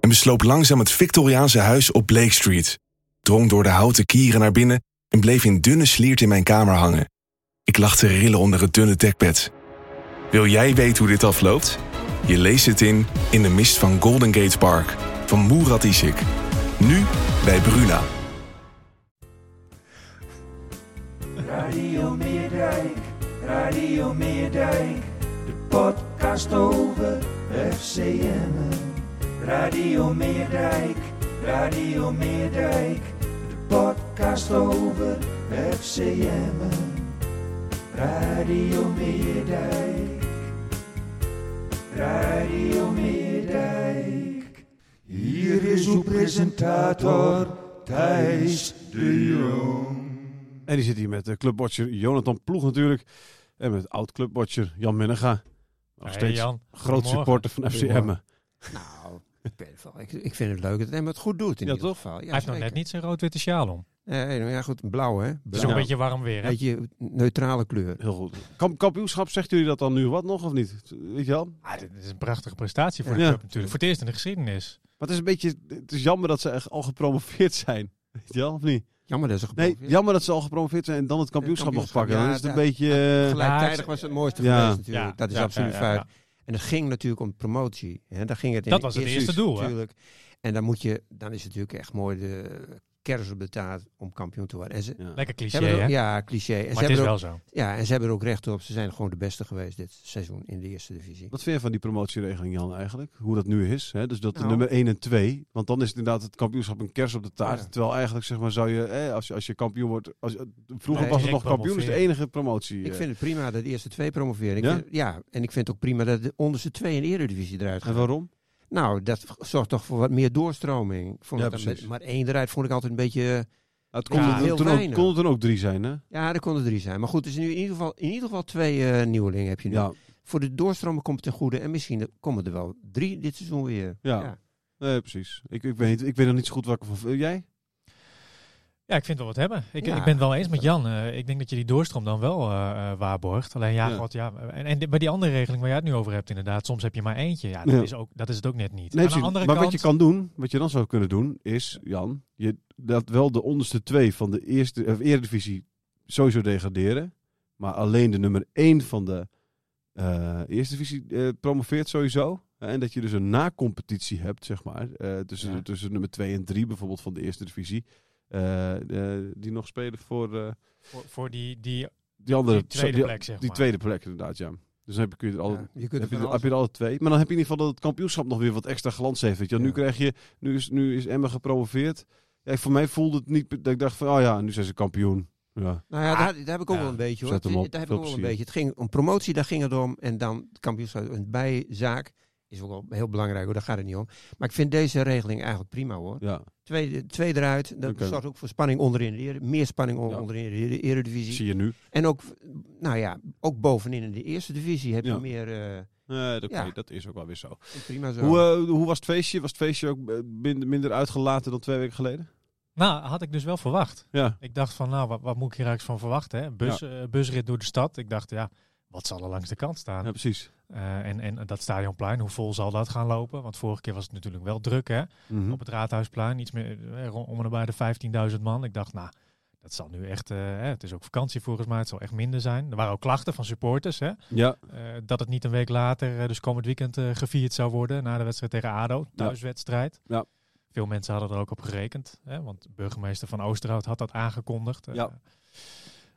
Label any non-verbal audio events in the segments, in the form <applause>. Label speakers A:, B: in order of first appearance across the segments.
A: en besloop langzaam het Victoriaanse huis op Blake Street. Drong door de houten kieren naar binnen en bleef in dunne sliert in mijn kamer hangen. Ik lag te rillen onder het dunne dekbed. Wil jij weten hoe dit afloopt? Je leest het in In de mist van Golden Gate Park van Murat Isik. Nu bij Bruna.
B: Radio Meerdijk, Radio Meerdijk, de podcast over FCM. Radio Meerdijk, Radio Meerdijk, de podcast over FCM. Radio Meerdijk, Radio Meerdijk. Hier is uw presentator Thijs de Jong.
C: En die zit hier met de clubwatcher Jonathan Ploeg natuurlijk. En met oud-clubwatcher Jan Minnega. Nog
D: Hey,
C: steeds
D: Jan.
C: groot supporter van FC
E: Goedemorgen.
C: Emmen.
E: Nou, ik, ben ervan- ik, ik vind het leuk dat Emma het goed doet in
C: Ja,
E: ieder
C: toch?
E: geval. Ja,
D: Hij heeft nog
E: zeker.
D: net niet zijn rood-witte sjaal om.
E: Nee, nee, nou ja, goed, blauw hè?
D: Het is ook
E: Blauw.
C: Dus Ja.
D: een beetje warm weer. hè?
E: Beetje neutrale kleur.
C: Heel goed. Kamp kampioenschap, zegt jullie dat dan nu wat nog of niet? Weet je wel? Maar
D: Ah, dit is een prachtige prestatie voor de
C: Ja.
D: club natuurlijk. Voor het eerst in de geschiedenis.
C: het is een beetje, het is jammer dat ze echt al gepromoveerd zijn. Weet je wel, of niet?
E: Jammer dat ze
C: Nee,
E: geprobeerd.
C: jammer dat ze al gepromoveerd zijn en dan het kampioenschap, nog
E: kampioenschap,
C: pakken. dan
E: ja,
C: is het een
E: dat-
C: beetje... eh,
E: Gelijktijdig
D: Ja,
E: was het mooiste
C: ja,
E: geweest natuurlijk.
D: ja,
E: dat is
D: ja,
E: absoluut
D: ja, ja,
E: feit.
D: ja.
E: En het ging natuurlijk om promotie. Hè? Daar ging het in
D: Dat was het eerste
E: instantie
D: doel, hè?
E: Natuurlijk. En dan, moet je, dan is het natuurlijk echt mooi de kers op de taart om kampioen te worden. En ze,
C: ja.
D: Lekker
E: ze
D: cliché,
E: hebben er
D: hè?
E: ook- ja, cliché. En ze,
D: maar het is
E: hebben er
D: wel
E: ook,
D: zo.
E: ja, en ze hebben er ook recht op. Ze zijn gewoon de beste geweest dit seizoen in de eerste divisie.
C: Wat vind je van die promotieregeling, Jan, eigenlijk? Hoe dat nu is? Hè? Dus dat de
E: Nou.
C: nummer 1 en 2. Want dan is het inderdaad het kampioenschap een kers op de taart.
E: Ja.
C: Terwijl eigenlijk, zeg maar, zou je... Hè, als, je als je kampioen wordt... Als, je- vroeger
E: Nee,
C: was het nog
D: direct
C: kampioen, is de
D: promoveren.
C: enige promotie.
E: Ik
C: eh.
E: vind het prima dat de eerste twee promoveren. Ik
C: Ja?
E: vind- ja? en ik vind het ook prima dat de onderste twee in de eredivisie eruit
C: En
E: gaan.
C: waarom?
E: Nou, dat v- zorgt toch voor wat meer doorstroming. Ik Vond
C: Ja,
E: het dan met
C: precies.
E: maar één eruit vond ik altijd een beetje... eh,
C: Het kon,
D: Ja,
C: er,
E: heel
C: toen ook,
E: weinig.
C: kon er toen ook drie zijn, hè?
E: Ja, er konden drie zijn. Maar goed, dus nu in ieder geval, in ieder geval twee eh, nieuwelingen heb je nu.
C: Ja,
E: Voor de doorstroming komt het ten goede. En misschien er- komen er wel drie dit seizoen weer.
C: Ja. nee, precies. Ik, ik, weet, ik weet nog niet zo goed wat ik ervan vind. Jij?
D: Ja, ik vind wel wat hebben. Ik,
E: Ja.
D: ik ben het wel eens met Jan. Eh, ik denk dat je die doorstroom dan wel eh, eh, waarborgt. Alleen ja,
C: Ja.
D: God, ja. En, en di- bij die andere regeling waar jij het nu over hebt, inderdaad, soms heb je maar eentje. Ja, dat,
C: Ja.
D: Is, ook, dat is het ook net niet.
C: Nee,
D: Aan de
C: precies.
D: andere
C: Maar
D: kant,
C: wat je kan doen, wat je dan zou kunnen doen, is, Jan, je laat wel de onderste twee van de eerste, of eredivisie sowieso degraderen. Maar alleen de nummer één van de eh, eerste divisie eh, promoveert sowieso. En dat je dus een na-competitie hebt, zeg maar, eh, tussen,
D: Ja.
C: tussen nummer 2 en 3 bijvoorbeeld van de eerste divisie. eh, eh, die nog spelen voor eh,
D: voor, voor die, die,
C: die andere
D: die tweede
C: die-
D: plek, zeg
C: Die
D: maar.
C: tweede plek inderdaad, ja. Dus dan heb je, kun je er al,
E: Ja, je kunt
C: heb, je
E: van
C: er,
E: alles-
C: heb je er alle twee. Maar dan heb je in ieder geval dat het kampioenschap nog weer wat extra glans heeft. Weet je. wel. Nu
E: Ja.
C: krijg je, nu is, nu is Emma gepromoveerd. Ja, voor mij voelde het niet dat ik dacht van, oh ja, nu zijn ze kampioen. Ah, Ja,
E: Nou ja, daar, daar heb ik ook
D: ja,
E: wel een beetje hoor.
C: zet hem
E: Het-
C: op.
E: Daar heb
C: Veel
E: ik ook wel een
C: plezier.
E: beetje. Het ging om promotie, daar ging het om. En dan de kampioenschap, een bijzaak is ook wel heel belangrijk hoor, daar gaat het niet om. Maar ik vind deze regeling eigenlijk prima hoor.
C: ja.
E: Twee, twee eruit, dat
C: Oké.
E: zorgt ook voor spanning onderin de Eredivisie. Meer spanning on-
C: Ja.
E: onderin de Ere- Eredivisie.
C: zie je nu.
E: En ook, nou ja, ook bovenin in de Eerste Divisie heb je
C: Ja.
E: meer... eh,
C: Nee, dat,
E: Ja.
C: oké, dat is ook wel weer zo.
E: prima zo.
C: Hoe, eh, hoe was het feestje? Was het feestje ook eh, minder, minder uitgelaten dan twee weken geleden?
D: Nou, had ik dus wel verwacht.
C: Ja,
D: Ik dacht van, nou, wat, wat moet ik hier eigenlijk van verwachten? Hè? Bus, eh, busrit door de stad. Ik dacht, ja, wat zal er langs de kant staan?
C: ja precies.
D: Eh, en, en dat stadionplein, hoe vol zal dat gaan lopen? Want vorige keer was het natuurlijk wel druk, hè?
C: Mhm.
D: Op het Raadhuisplein, iets meer eh, ro- om en bij de 15.000 man. Ik dacht, nou, dat zal nu echt, eh, hè, het is ook vakantie volgens mij, het zal echt minder zijn. Er waren ook klachten van supporters, hè?
C: Ja,
D: eh, dat het niet een week later, eh, dus komend weekend, eh, gevierd zou worden na de wedstrijd tegen ADO, thuiswedstrijd.
C: Ja.
D: Veel mensen hadden er ook op gerekend, hè? want burgemeester van Oosterhout had dat aangekondigd. eh.
C: Ja.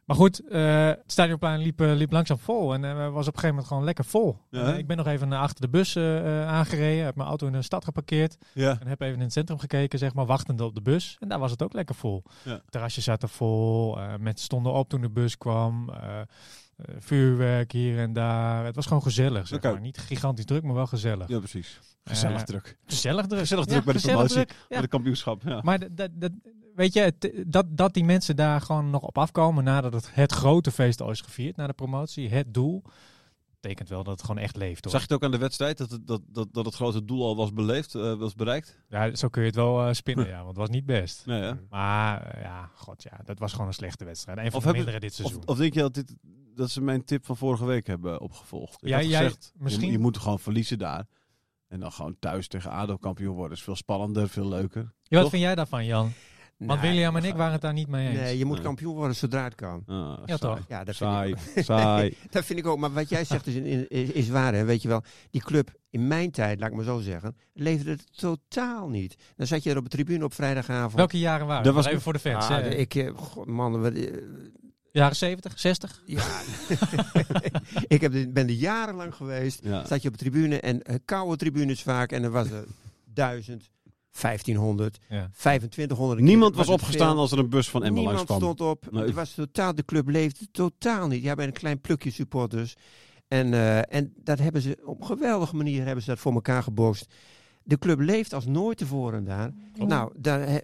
D: Maar goed, eh, het stadionplein liep, eh, liep langzaam vol en eh, was op een gegeven moment gewoon lekker vol.
C: Ja, hè?
D: Eh, ik ben nog even naar achter de bus eh, eh, aangereden, heb mijn auto in de stad geparkeerd
C: ja.
D: en heb even in het centrum gekeken, zeg maar, wachtende op de bus. En daar was het ook lekker vol.
C: Ja.
D: Terrasjes zaten vol, eh, mensen stonden op toen de bus kwam. eh, eh, vuurwerk hier en daar. Het was gewoon gezellig, zeg
C: Oké.
D: maar. Niet gigantisch druk, maar wel gezellig.
C: Ja, precies.
D: Gezellig
C: druk.
D: Gezellig druk.
C: Gezellig
D: Ja,
C: druk bij de
D: gezellig
C: promotie.
D: druk.
C: Bij de kampioenschap. Ja.
D: Maar dat, dat, dat- weet je, het- dat, dat die mensen daar gewoon nog op afkomen nadat het, het grote feest al is gevierd, na de promotie, het doel, betekent wel dat het gewoon echt leeft. Hoor.
C: Zag je het ook aan de wedstrijd dat het, dat, dat, dat het grote doel al was beleefd, eh, was bereikt?
D: Ja, zo kun je het wel eh, spinnen, ja, want het was niet best.
C: Nee, hè?
D: Maar eh, ja, god ja, dat was gewoon een slechte wedstrijd. Een van
C: Of
D: de
C: hebben-
D: mindere dit
C: Of,
D: seizoen.
C: of denk je dat, dit, dat ze mijn tip van vorige week hebben opgevolgd? Ik
D: Ja,
C: had
D: jij-
C: gezegd, je-
D: misschien-
C: je, moet gewoon verliezen daar. En dan gewoon thuis tegen ADO kampioen worden. is veel spannender, veel leuker.
D: Ja, wat
C: toch?
D: vind jij daarvan, Jan? Want
E: Nee,
D: William en ik waren het daar niet mee eens.
E: Nou, Nee, je moet
C: Nee.
E: kampioen worden zodra het kan.
C: Ah,
D: Ja,
C: saai.
D: toch?
E: Ja, dat vind, ik,
C: Saai, <laughs> saai.
E: dat vind ik ook. Maar wat jij zegt is, in- is, is waar, hè. Weet je wel, die club in mijn tijd, laat ik maar zo zeggen, leefde het totaal niet. Dan zat je er op de tribune op vrijdagavond.
D: Welke jaren waren
C: Dat
D: het?
C: was-
D: Even voor de fans.
E: Ah,
D: hè.
E: de- ik, eh, god, man, wat, eh, <laughs>
D: Jaren 70, 60?
E: ja. ik heb, de- ben er jarenlang geweest.
C: Ja.
E: Zat je op de tribune en eh, koude tribunes vaak. En er was er duizend, 1500,
D: Ja.
E: 2500.
C: Niemand
E: Ik-
C: was
E: het
C: opgestaan
E: veel.
C: als er een bus van Emmen langs
E: Niemand
C: kwam.
E: stond op.
C: Nee.
E: Het was totaal, de club leefde totaal niet. Ja, bij een klein plukje supporters. En, eh, en dat hebben ze op een geweldige manier hebben ze dat voor elkaar gebokst. De club leeft als nooit tevoren daar. Nou, daar, he-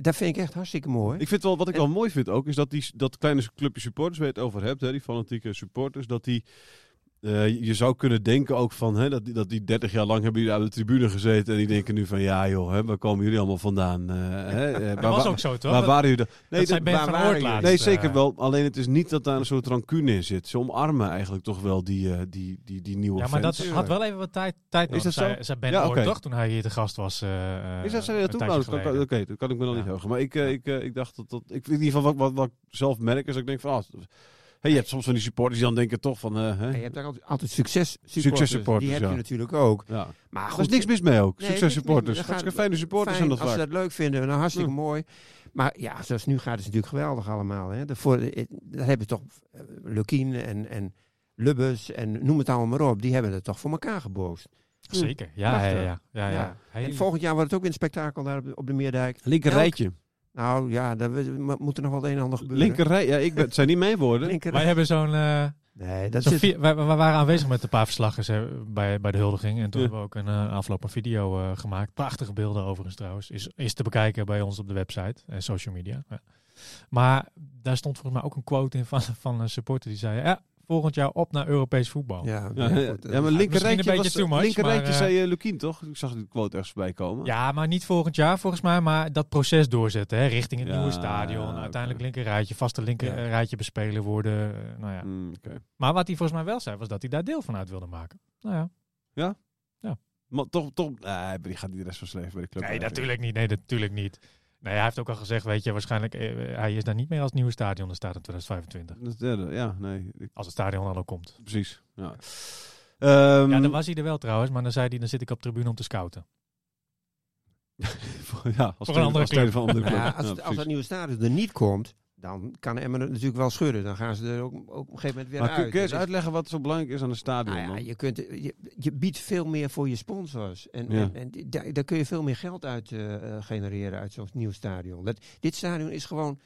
E: dat vind ik echt hartstikke mooi.
C: Ik vind wel, wat ik wel mooi vind ook, is dat, die, dat kleine clubje supporters, waar je het over hebt, hè, die fanatieke supporters, dat die... eh, je zou kunnen denken ook van, hè, dat, die, dat die 30 jaar lang hebben jullie aan de tribune gezeten en die denken nu van, ja joh, hè, waar komen jullie allemaal vandaan? eh, hè,
D: <laughs>
C: eh, waar-
D: Dat was
C: waar-
D: ook zo, toch?
C: waar waren jullie dan?
D: dat
C: dat-
D: zei Ben
E: waar
D: van
E: waren
D: Oort
E: jullie?
D: laatst,
C: Nee,
D: eh,
C: zeker wel. Alleen het is niet dat daar een soort rancune in zit. Ze omarmen eigenlijk toch wel die, eh, die, die, die nieuwe
D: Ja, maar
C: fans.
D: dat had wel even wat tijd, tijd
C: Is
D: nodig.
C: dat zo?
D: Zei- zei Ben
C: Ja,
D: Oort
C: oké.
D: toch, toen hij hier te gast was. eh, eh,
C: Is dat zo?
D: een
C: Ja, toen?
D: tijdje
C: Nou, dat kan-
D: geleden.
C: Oké, dat kan ik me dan niet
D: Ja.
C: heugen. Maar ik, eh, ik, eh, ik dacht dat dat... Ik, in ieder geval wat, wat, wat ik zelf merk is dat ik denk van... ah, hey, je hebt soms van die supporters die dan denken toch van... eh, hè?
E: Ja, je hebt daar altijd, altijd succes supporters.
C: Successupporters,
E: Die heb
C: ja.
E: je natuurlijk ook.
D: Ah,
C: ja.
E: Maar
C: Er
E: goed,
C: is niks mis mee ook.
E: Nee,
C: Succes
E: niks mis.
C: supporters.
E: We gaan-
C: Hartstikke fijne supporters
E: fijn
C: zijn dat Mm.
E: als ze
C: vaak.
E: dat leuk vinden. Nou, hartstikke
C: Ja.
E: mooi. Maar ja, zoals het nu gaat is het natuurlijk geweldig allemaal. Hè. Daarvoor, eh, daar hebben toch eh, Lukien en, en Lubbers en noem het allemaal maar op. Die hebben het toch voor elkaar geboost.
D: Zeker, ja. ja,
E: Prachtig.
D: ja, ja, ja,
E: Ja.
D: Hele-
E: En volgend jaar wordt het ook weer een spektakel daar op de, op de Meerdijk.
C: Linker
E: Elk-
C: rijtje.
E: Nou ja, daar we- maar moet er nog wel het een en ander gebeuren.
C: Linker rij- Ja, ik ben, het zijn niet mijn woorden.
E: Linker-
D: Wij hebben zo'n... eh,
E: Nee, dat
D: Zo
E: zit...
D: vier- wij, wij waren aanwezig met een paar verslaggers hè, bij, bij de huldiging. En toen
C: Ja.
D: hebben we ook een eh, afloop een video eh, gemaakt. Prachtige beelden overigens trouwens. Is, is te bekijken bij ons op de website en social media. Ja. Maar daar stond volgens mij ook een quote in van, <laughs> van een supporter die zei... Ja, volgend jaar op naar Europees voetbal. Ja,
E: Ja,
C: Ja,
E: ja,
C: ja,
E: goed, eh. dat
C: ja, maar
E: is-
C: linker
D: Misschien een
C: rijtje
D: beetje
C: was-
D: too much,
C: linker
D: maar,
C: rijtje
D: eh,
C: zei eh, Lukien toch? Ik zag die quote ergens voorbij komen.
D: maar niet volgend jaar volgens mij. Maar dat proces doorzetten hè, richting het
C: Ja,
D: nieuwe stadion.
C: oké.
D: Uiteindelijk linkerrijtje, vaste linkerrijtje bespelen worden. eh, nou ja.
C: Mm, oké.
D: Maar wat hij volgens mij wel zei was dat hij daar deel van uit wilde maken. Nou ja.
C: Maar toch, toch, nee, die gaat niet de rest van zijn leven bij de club.
D: Nee,
C: blijven.
D: natuurlijk niet. Nee, natuurlijk niet. Nee, hij heeft ook al gezegd, weet je, waarschijnlijk, eh, hij is daar niet meer als nieuwe stadion er staat in 2025.
C: Dat is derde, ja, nee, ik-
D: Als het stadion dan al komt.
C: precies. Ja. Ehm,
D: Ja, dan was hij er wel trouwens, maar dan zei hij, dan zit ik op tribune om te scouten.
C: voor- <laughs> ja, als
D: een
C: tweede-
D: andere
C: als
D: club.
C: tweede van een andere
E: Nou
C: club.
E: ja, als,
C: Ja,
E: het, als
C: precies.
E: dat nieuwe stadion er niet komt, dan kan Emmen het natuurlijk wel schudden. Dan gaan ze er ook, ook op een gegeven moment weer
C: Maar kun,
E: uit.
C: kun je eens
E: Dat is-
C: uitleggen wat zo belangrijk is aan een stadion?
E: Nou ja,
C: dan?
E: je, kunt, je, je biedt veel meer voor je sponsors. En,
C: Ja.
E: en, en die- daar, daar kun je veel meer geld uit eh, eh, genereren uit zo'n nieuw stadion. Dat, dit stadion is gewoon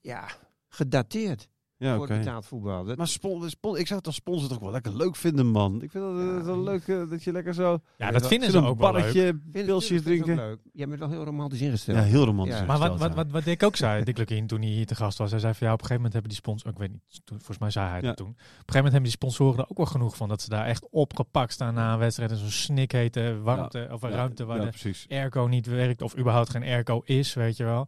E: ja, gedateerd
C: Ja,
E: voor
C: oké.
E: het betaald voetbal. Dat,
C: Maar spon, spon, ik zou het als sponsor toch wel lekker leuk vinden, man. Ik vind dat,
E: Ja.
C: dat wel leuk eh, dat je lekker zo...
D: Ja, dat vinden
C: Zit
D: ze
C: een
D: ook wel leuk.
C: barretje,
E: vind-
C: pilsjes
E: vind ik
C: drinken.
E: ook leuk. Jij bent wel heel romantisch ingesteld.
C: Ja, heel romantisch.
E: Ja.
D: Maar wat,
C: gesteld,
D: wat,
C: ja.
D: wat, wat Dick ook zei, Dick Lukien, toen hij hier te gast was, hij zei van ja, op een gegeven moment hebben die sponsoren, ik weet niet, toen- volgens mij zei hij dat
C: Ja.
D: toen, op een gegeven moment hebben die sponsoren er ook wel genoeg van, dat ze daar echt opgepakt staan na een wedstrijd en zo'n snikhete warmte, of
C: Ja,
D: ruimte waar
C: ja,
D: de
C: precies.
D: airco niet werkt of überhaupt geen airco is, weet je wel.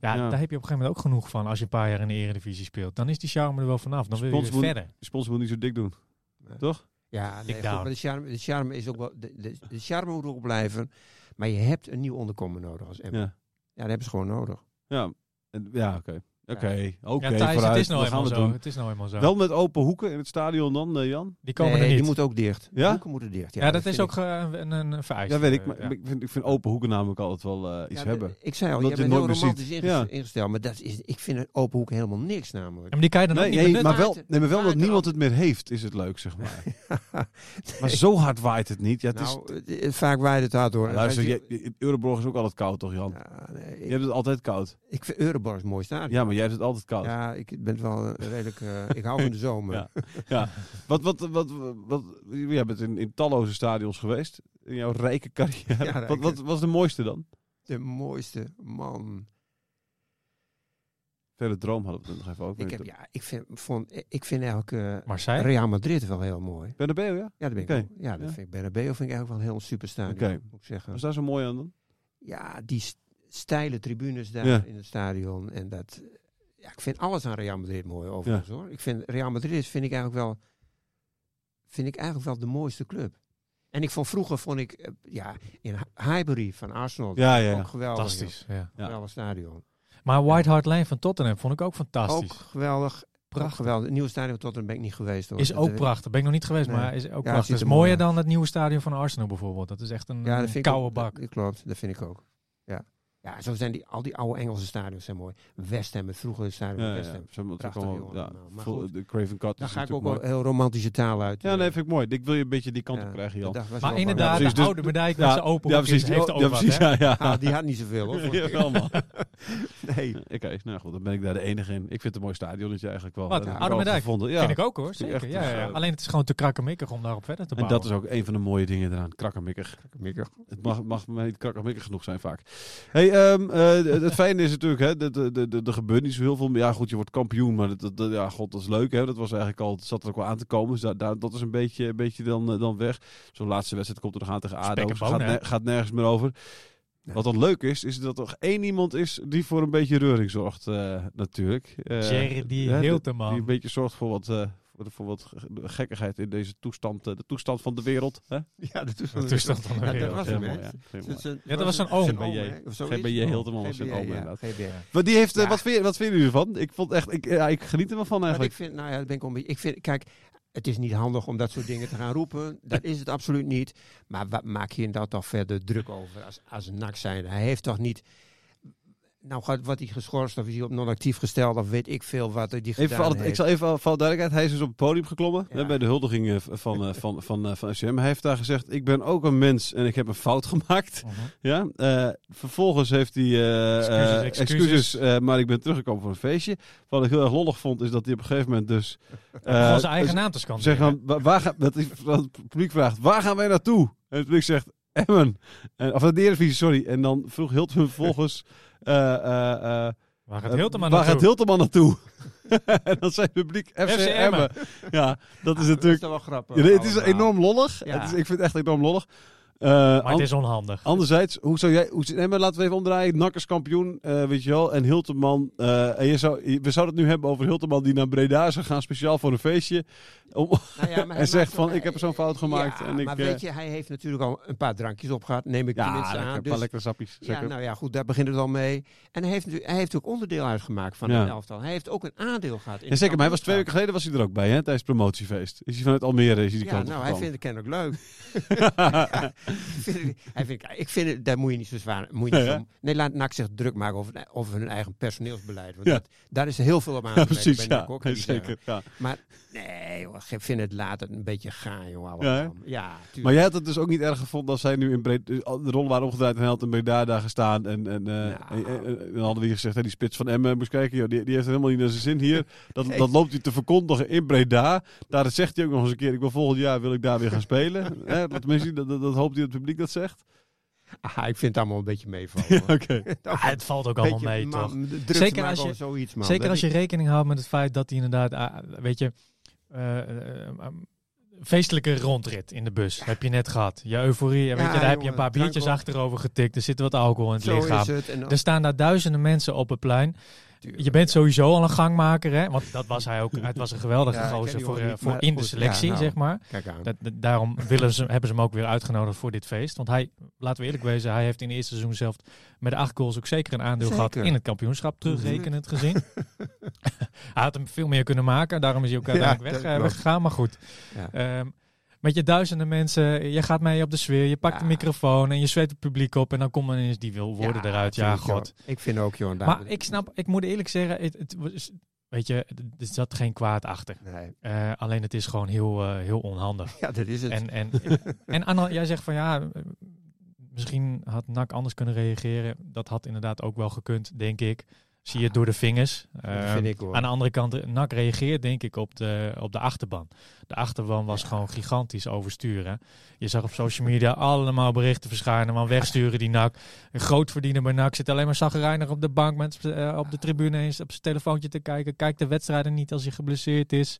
D: Ja,
C: Ja.
D: daar heb je op een gegeven moment ook genoeg van als je een paar jaar in de eredivisie speelt. Dan is die charme er wel vanaf. Dan wil je
C: Spons
D: weer
C: moet-
D: verder.
C: De sponsor moet niet zo dik doen.
E: Ja, nee,
D: Ik
E: goed,
D: down.
E: maar de charme, de charme is ook wel. De, de, de charme moet erop blijven. Maar je hebt een nieuw onderkomen nodig als Emmen. Ja,
C: Ja,
E: dat hebben ze gewoon nodig.
C: ja, En- ja oké. Oké, oké,
D: ja, Thijs, het
C: vooruit.
D: is nou
C: We gaan
D: eenmaal
C: het
D: zo.
C: doen.
D: Het is nou eenmaal zo.
C: Wel met open hoeken in het stadion dan, eh, Jan?
D: die komen
E: nee,
D: er niet.
E: die moet ook dicht.
C: Ja?
E: De hoeken moeten dicht.
D: ja,
E: Ja,
D: dat, is
E: vind
D: ook eh, een, een, een vereiste. eh,
C: Ja, weet ik. Maar
D: ja.
C: ik, vind, ik vind open hoeken namelijk altijd wel eh, iets
E: Ja,
C: hebben.
E: de- Ik zei al,
C: Omdat
E: je
C: je
E: bent
C: het
E: heel
C: nooit meer
E: romantisch
C: ziet.
E: ingest-
C: Ja.
E: ingesteld. Maar dat is, ik vind een open hoek helemaal niks namelijk.
D: Ja,
E: <laughs>
D: maar die kan je dan
C: Nee,
D: ook niet
C: nee,
D: benutten.
C: maar wel,
E: Maarten.
C: nee, maar wel dat
E: Maarten. <laughs>
C: niemand het meer heeft, is het leuk, zeg maar. Maar zo hard waait het niet. Ja, het is,
E: nou, eh, vaak waait het hard hoor. En
C: luister,
E: wij
C: je, je- Euroborg is ook altijd koud, toch Jan?
E: Ja, nee,
C: Je
E: ik,
C: hebt het altijd koud.
E: ik vind Euroborg een mooi stadion.
C: Ja, maar jij hebt het altijd koud.
E: Ja, ik ben wel een redelijk. eh, ik hou van de zomer.
C: Ja. Wat, wat, wat, wat, jij bent in, in talloze stadions geweest. In jouw rijke carrière.
E: <laughs> Ja, rijke.
C: Wat, wat was de mooiste dan?
E: De mooiste man.
C: Verre droom hadden we het nog even over.
E: Ik, heb, ja, ik, vind, vond, ik vind eigenlijk eh,
D: Marseille?
E: Real Madrid wel heel mooi.
C: Bernabeu, ja?
E: Ja, dat ben ik.
C: Oké.
E: wel- Ja, dat
C: Ja.
E: vind ik Bernabeu vind ik eigenlijk wel een heel super stadion.
C: Oké.
E: Moet ik zeggen.
C: Was daar zo mooi aan dan?
E: Ja, die s- steile tribunes daar
C: Ja.
E: in het stadion en dat. Ja, ik vind alles aan Real Madrid mooi overigens hoor. Ik vind Real Madrid vind ik eigenlijk wel, vind ik eigenlijk wel de mooiste club. En ik vond vroeger vond ik eh, ja in Hy- Highbury van Arsenal
C: Ja, ja, ja.
E: ook geweldig.
D: Fantastisch. Ja.
C: Ja.
E: joh. Geweldig stadion.
D: Maar White Hart Lane van Tottenham vond ik ook fantastisch.
E: Ook geweldig. Prachtig. Geweldig. Het nieuwe stadion tot dan ben ik niet geweest hoor.
D: Is
E: Dat,
D: ook
E: eh,
D: prachtig. Ben ik nog niet geweest,
E: Nee.
D: maar is ook
E: Ja, het
D: prachtig.
E: ziet
D: Is
E: er
D: mooier
E: mooi uit.
D: dan het nieuwe stadion van Arsenal bijvoorbeeld. Dat is echt een,
E: Ja,
D: een
E: dat vind
D: koude
E: ik, ook-
D: bak.
E: Dat, dat klopt, dat vind ik ook. Ja. ja, zo zijn die, al die oude Engelse stadions zijn mooi. West Ham, het vroegere stadion van
C: Ja, ja,
E: West
C: ja.
E: Ham.
C: Zo, want we
E: Prachtig,
C: komen-
E: jongen,
C: ja,
E: allemaal. Maar
C: vol-
E: goed.
C: de Craven Cut.
E: Dan
C: is
E: ga ik ook
C: natuurlijk
E: wel heel romantische taal uit. eh,
C: mooi. Ja, nee, vind ik mooi. Ik wil je een beetje die kant
E: Ja,
C: op krijgen,
E: dat
C: Jan.
E: dacht- was
D: Maar
E: wel
D: inderdaad,
C: precies,
D: de
C: dus-
D: oude medaille met zijn open
C: ja,
D: hoekjes
C: precies.
D: heeft
C: Ja,
D: ook
C: ja,
D: wat,
C: precies.
D: hè?
C: Ja, ja.
E: Ah,
C: <laughs>
E: die had niet zoveel hoor.
C: Ja, wel, man.
E: Nee.
C: Oké, nou goed, dan ben ik daar de enige in. Ik vind het een mooi stadionnetje eigenlijk wel.
D: Wat,
E: eh,
C: Dat heb ik
D: Oude
C: wel
D: Medijk?
C: gevonden. Ja.
D: Vind ik ook hoor,
C: Vind ik
D: zeker.
C: echt,
D: Ja, ja, ja.
C: eh,
D: Alleen het is gewoon te krakkemikkig om daarop verder te
C: En
D: bouwen.
C: dat is ook een van de mooie dingen eraan. Krakkemikkig.
E: Mikker.
C: Het mag, mag maar niet krakkemikkig genoeg zijn vaak. Hey, ehm, eh, d- het fijne is natuurlijk, hè, dat- eh, dat- dat- dat- er gebeurt niet zo heel veel. Ja goed, je wordt kampioen, maar dat, dat- dat- ja, god, dat is leuk. Hè. Dat was eigenlijk al, het zat er ook wel aan te komen. Dus da- daar- dat is een beetje, een beetje dan, eh, dan weg. Zo'n laatste wedstrijd komt er nog aan tegen
D: Spek
C: ADO.
D: en
C: Dus
D: bonen,
C: gaat,
D: hè?
C: ne- gaat nergens meer over.
E: Nee.
C: Wat dan leuk is, is dat er nog één iemand is die voor een beetje reuring zorgt eh, natuurlijk. Eh,
D: Jerry die
C: hè,
D: heel
C: dat-
D: te
C: Die een
D: man.
C: beetje zorgt voor wat, eh, voor, voor wat ge- gekkigheid in deze toestand, eh, de toestand van de wereld. Hè?
E: Ja, de
D: De <laughs>
E: toestand.
D: toestand van de
E: Ja, dat
D: wereld.
E: was
C: Heel
E: hem,
C: mooi,
E: hè? Dus-
C: ja. Heel mooi.
E: Zijn- zijn-
D: Ja, dat was
E: zijn-
D: een oom.
E: zijn
C: GBJ.
E: hè? oh, Of zo
C: GBJ
E: is het.
C: Hilterman was zijn
E: GBJ,
C: oom,
E: ja,
C: inderdaad.
E: GBJ.
C: Maar die heeft, eh,
E: Ja.
C: wat, vind je, wat vinden jullie ervan? Ik vond echt, ik, ja, ik geniet er wel van
E: Wat ik
C: eigenlijk.
E: vind, nou ja, dat ben ik wel een beetje- ik vind, kijk, het is niet handig om dat soort dingen te gaan roepen. Dat is het absoluut niet. Maar wat maak je daar toch verder druk over als, als een nak zijn? Hij heeft toch niet. Nou, gaat wat hij geschorst of is hij op non-actief gesteld of weet ik veel wat hij gedaan
C: Even voor alle-
E: heeft.
C: ik zal even voor alle duidelijkheid, hij is dus op het podium geklommen
E: Ja.
C: hè, bij de huldiging eh, van, van, eh, van, van, eh, van FCM. Hij heeft daar gezegd, ik ben ook een mens en ik heb een fout
D: <laughs>
C: gemaakt.
D: Mhm.
C: Ja? eh, vervolgens heeft hij eh,
D: Excuses,
C: eh,
D: excuses.
C: eh, maar ik ben teruggekomen voor een feestje. Wat ik heel erg lollig vond, is dat hij op een gegeven moment dus... eh,
D: Gewoon zijn eigen naam te
C: Zeg
D: scanderen.
C: maar, wa- waar ga, dat, is- dat het publiek vraagt, waar gaan wij naartoe? En het publiek zegt, Emmen. En, of de Eredivisie, sorry. En dan vroeg
D: <laughs>
C: Hilton vervolgens... eh, eh, eh,
D: Waar gaat heel te man
C: Waar gaat
D: naartoe?
C: Hilterman naartoe? <laughs> en dan zijn publiek FC,
D: FC
C: Emmen.
D: Emmen.
C: <laughs>
D: Ah,
C: Ja, dat is
E: Dat is
C: natuurlijk...
E: toch wel grappig.
C: Ja, nee, het is
E: allemaal.
C: enorm lollig.
E: Ja.
C: Het is, ik vind het echt enorm lollig. Eh,
D: Oh, nou. Maar het is onhandig.
C: Oh,
D: <laughs>
C: Anderzijds, hoe zou jij... Hoe, nee, maar laten we even omdraaien. Nakkers kampioen, eh, weet je wel. En Hilterman... eh, en je zou, je- we zouden het nu hebben over Hilterman die naar Breda zou gaan. Speciaal voor een feestje. Om,
E: Nou ja, maar hij
C: <laughs> en zegt
E: maakt
C: van,
E: wel-
C: ik heb zo'n fout gemaakt.
E: Ja,
C: en ik,
E: maar
C: eh,
E: weet je, hij heeft natuurlijk al een paar drankjes op gehad, neem ik
C: ja,
E: tenminste
C: lekker,
E: aan.
C: een
E: Dus
C: paar lekkere sappies.
E: Ja,
C: zeker.
E: nou ja, goed, daar begint het al mee. En hij heeft, natuurlijk- hij heeft ook onderdeel uitgemaakt van
C: Ja.
E: het elftal. Hij heeft ook een aandeel gehad. In
C: en zeker, maar hij was twee weken geleden was hij er ook bij, hè, tijdens het promotiefeest. Is hij vanuit Almere is hij die
E: Ja,
C: kant op
E: nou, hij
C: gekomen.
E: vindt
C: <laughs>
E: het kennelijk <laughs> leuk. Ja, ik vind het- hij vindt, ik vind het, daar moet je niet zo zwaar... Moet je
C: Nee,
E: niet zo-
C: hè?
E: nee, laat NAC zich druk maken over, over hun eigen personeelsbeleid. Want
C: Ja.
E: dat, daar is heel veel op aan
C: Ja,
E: te werken
C: precies,
E: bij
C: ja.
E: NAC ook,
C: Nee,
E: moet ik zeggen.
C: zeker, ja.
E: Maar nee, joh, ik vind het later een beetje gaar, joh.
C: Ja, hè?
E: allemaal. Ja, tuurlijk.
C: Maar jij had het dus ook niet erg gevonden als zij nu in breed, de rollen waren omgedraaid en hij had in Breda daar gestaan. En, en, eh, en, en- en dan hadden we hier gezegd, hè, die spits van Emmen, eh, moest kijken, joh, die, die heeft het helemaal niet naar zijn zin
E: <laughs>
C: hier. Dat, dat loopt hij te verkondigen in Breda. Daar zegt hij ook nog eens een keer, ik wil volgend jaar wil ik daar weer gaan
E: <laughs>
C: spelen. Hè, dat, tenminste, dat, dat, dat hoopt hij dat het publiek dat zegt.
E: Ah, ik vind het allemaal een beetje meevallen.
C: Ja,
E: hoor.
C: oké.
E: <laughs> Dat-
D: Ah, het valt ook allemaal
E: beetje,
D: mee,
E: man,
D: toch?
E: druk te
D: Zeker
E: maken
D: als je-
E: over zoiets, man.
D: Zeker
E: Dat
D: als je
E: is-
D: rekening houdt met het feit dat hij inderdaad, ah, weet je, eh, eh, ehm, feestelijke rondrit in de bus heb je net gehad. Je euforie, weet je, daar heb je
E: jongen,
D: een paar biertjes
E: drank op.
D: achterover getikt. Er zit wat alcohol in het
E: Zo
D: lichaam. Dus
E: is het. En dan-
D: Er staan daar duizenden mensen op het plein.
E: Tuurlijk.
D: Je bent sowieso al een gangmaker, hè? Want dat was hij ook. Het was een geweldige
E: Ja, ik ken
D: gozer
E: die
D: voor,
E: jongen
D: eh,
E: niet,
D: voor
E: maar
D: in de
E: goed, ja,
D: selectie,
E: nou.
D: zeg maar.
E: Kijk aan.
D: Dat, dat- daarom willen ze, hebben ze hem ook weer uitgenodigd voor dit feest. Want hij, laten we eerlijk wezen, hij heeft in het eerste seizoen zelf met acht goals ook zeker een aandeel
E: Zeker. Mhm.
D: gehad in het kampioenschap, terugrekenend gezien.
E: <laughs>
D: hij had hem veel meer kunnen maken, daarom is hij ook uiteindelijk
E: Ja,
D: weg,
E: dat
D: eh,
E: klopt.
D: weggegaan. Maar goed,
E: Ja.
D: Ehm, met je duizenden mensen, je gaat mee op de sfeer, je pakt de
E: Ja.
D: microfoon en je zweet het publiek op. En dan komt ineens die wil worden eruit. Ja,
E: tuurlijk,
D: god.
E: joh. Ik vind ook, joh. daar-
D: Maar ik snap, ik moet eerlijk zeggen, het, het was- Weet je, d- er zat geen kwaad achter.
E: Nee. <laughs>
D: Eh, alleen het is gewoon heel, eh, heel onhandig.
E: Ja, dat is het.
D: En, en, <laughs> en Anna, jij zegt van ja, eh, misschien had NAC anders kunnen reageren. Dat had inderdaad ook wel gekund, denk ik. Zie je het door de vingers.
E: dat
D: Ehm,
E: vind ik hoor.
D: aan de andere kant, eh, NAC reageert denk ik op de, op de achterban. De achterban was gewoon gigantisch oversturen. Je zag op social media allemaal berichten verschijnen, man wegsturen die NAC. Een grootverdiener bij NAC zit alleen maar zagrijnig op de bank, met, z'n- eh, op de tribune eens op zijn telefoontje te kijken. Kijk de wedstrijden niet als hij geblesseerd is.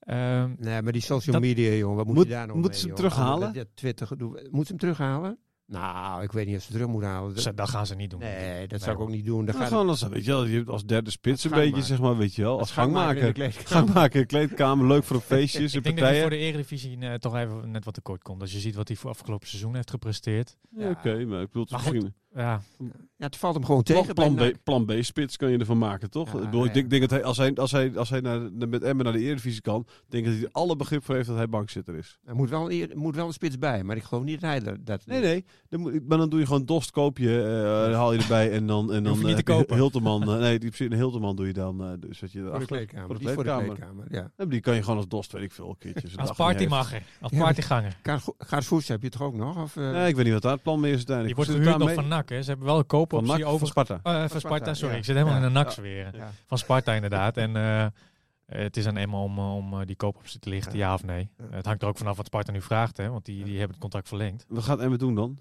D: Ehm,
E: Nee, maar die social
D: Dat-
E: media, jongen, wat moet,
C: Moet-
E: je daar nou
C: moeten
E: mee,
C: ze hem
E: jongen?
C: terughalen?
E: Dat- dat Twitter gedoe. Moet ze hem terughalen? Nou, ik weet niet of ze terug moet halen. Dat-
D: ze- dat gaan ze niet doen.
E: nee, dat
D: Nee,
E: zou ik
D: hoor.
E: ook niet doen. Dan
C: Nou,
E: gaat
C: gewoon als, weet je, wel, je hebt als derde spits een
E: Als
C: beetje,
E: gangmaker.
C: zeg maar, weet je wel. Als gangmaker.
E: Gang...
C: Gangmaker, kleedkamer, leuk voor feestjes en
D: <laughs> Ik denk dat hij voor
C: partijen.
D: de Eredivisie eh, toch even net wat tekort komt. Als je ziet wat hij voor afgelopen seizoen heeft gepresteerd.
C: Ja, Oké, maar ik bedoel, het is
D: Maar goed,
C: misschien...
D: Ja,
E: Ja, het valt hem gewoon
C: Plan,
E: tegen.
C: plan,
E: bij
C: B, plan B spits kan je ervan maken, toch?
E: Ja,
C: ik bedoel, ik
E: ja.
C: denk, denk dat hij, als hij, als hij, als hij naar, de- met Emmen naar de Eredivisie kan, denk ik dat hij er alle begrip voor heeft dat hij bankzitter is.
E: Er moet wel, eer- moet wel een spits bij, maar ik geloof niet dat hij dat... dat
C: Nee, nee. Dan, moet- maar dan doe je gewoon Dost, koop je, eh, dan haal je erbij en dan... En dan
D: hoef je niet
C: eh,
D: te
C: heb je
D: kopen.
C: Hilterman, eh, nee, die precies, een Hilterman doe je dan, eh, dus dat je
E: Voor de
C: erachter...
E: kleedkamer.
C: voor de
E: Die is voor de
C: kleedkamer.
E: kleedkamer, ja.
C: Ja, maar die kan je gewoon als Dost, weet ik veel, een keertje. zijn
D: als
C: dag niet heeft.
D: partymacher, als
E: Ja, maar-
D: partyganger.
E: Kaars- Gaarsvoets heb je toch ook nog? Of, eh,
C: Nee, ik weet niet wat daar het plan mee is
D: Die
C: uiteindelijk.
D: wordt
C: Zit het
D: gehuurd nog
C: daarmee?
D: van NAC, hè. Ze hebben wel een
C: Van
D: koopoptie
C: NAC of van
D: over...
C: Sparta.
D: Eh, van
E: Van
D: Sparta,
E: Sparta,
D: sorry.
E: ja.
D: Ik zit helemaal
E: Ja.
D: in de NAC
E: Ja.
D: weer.
E: ja.
D: Van Sparta inderdaad. En eh, eh, het is aan Emma om, eh, om eh, die koopoptie te lichten,
E: Ja.
D: ja, of nee.
E: Ja.
D: Eh, het hangt er ook vanaf wat Sparta nu vraagt, hè. Want die, die hebben het contract verlengd.
C: Wat gaat Emmen doen dan?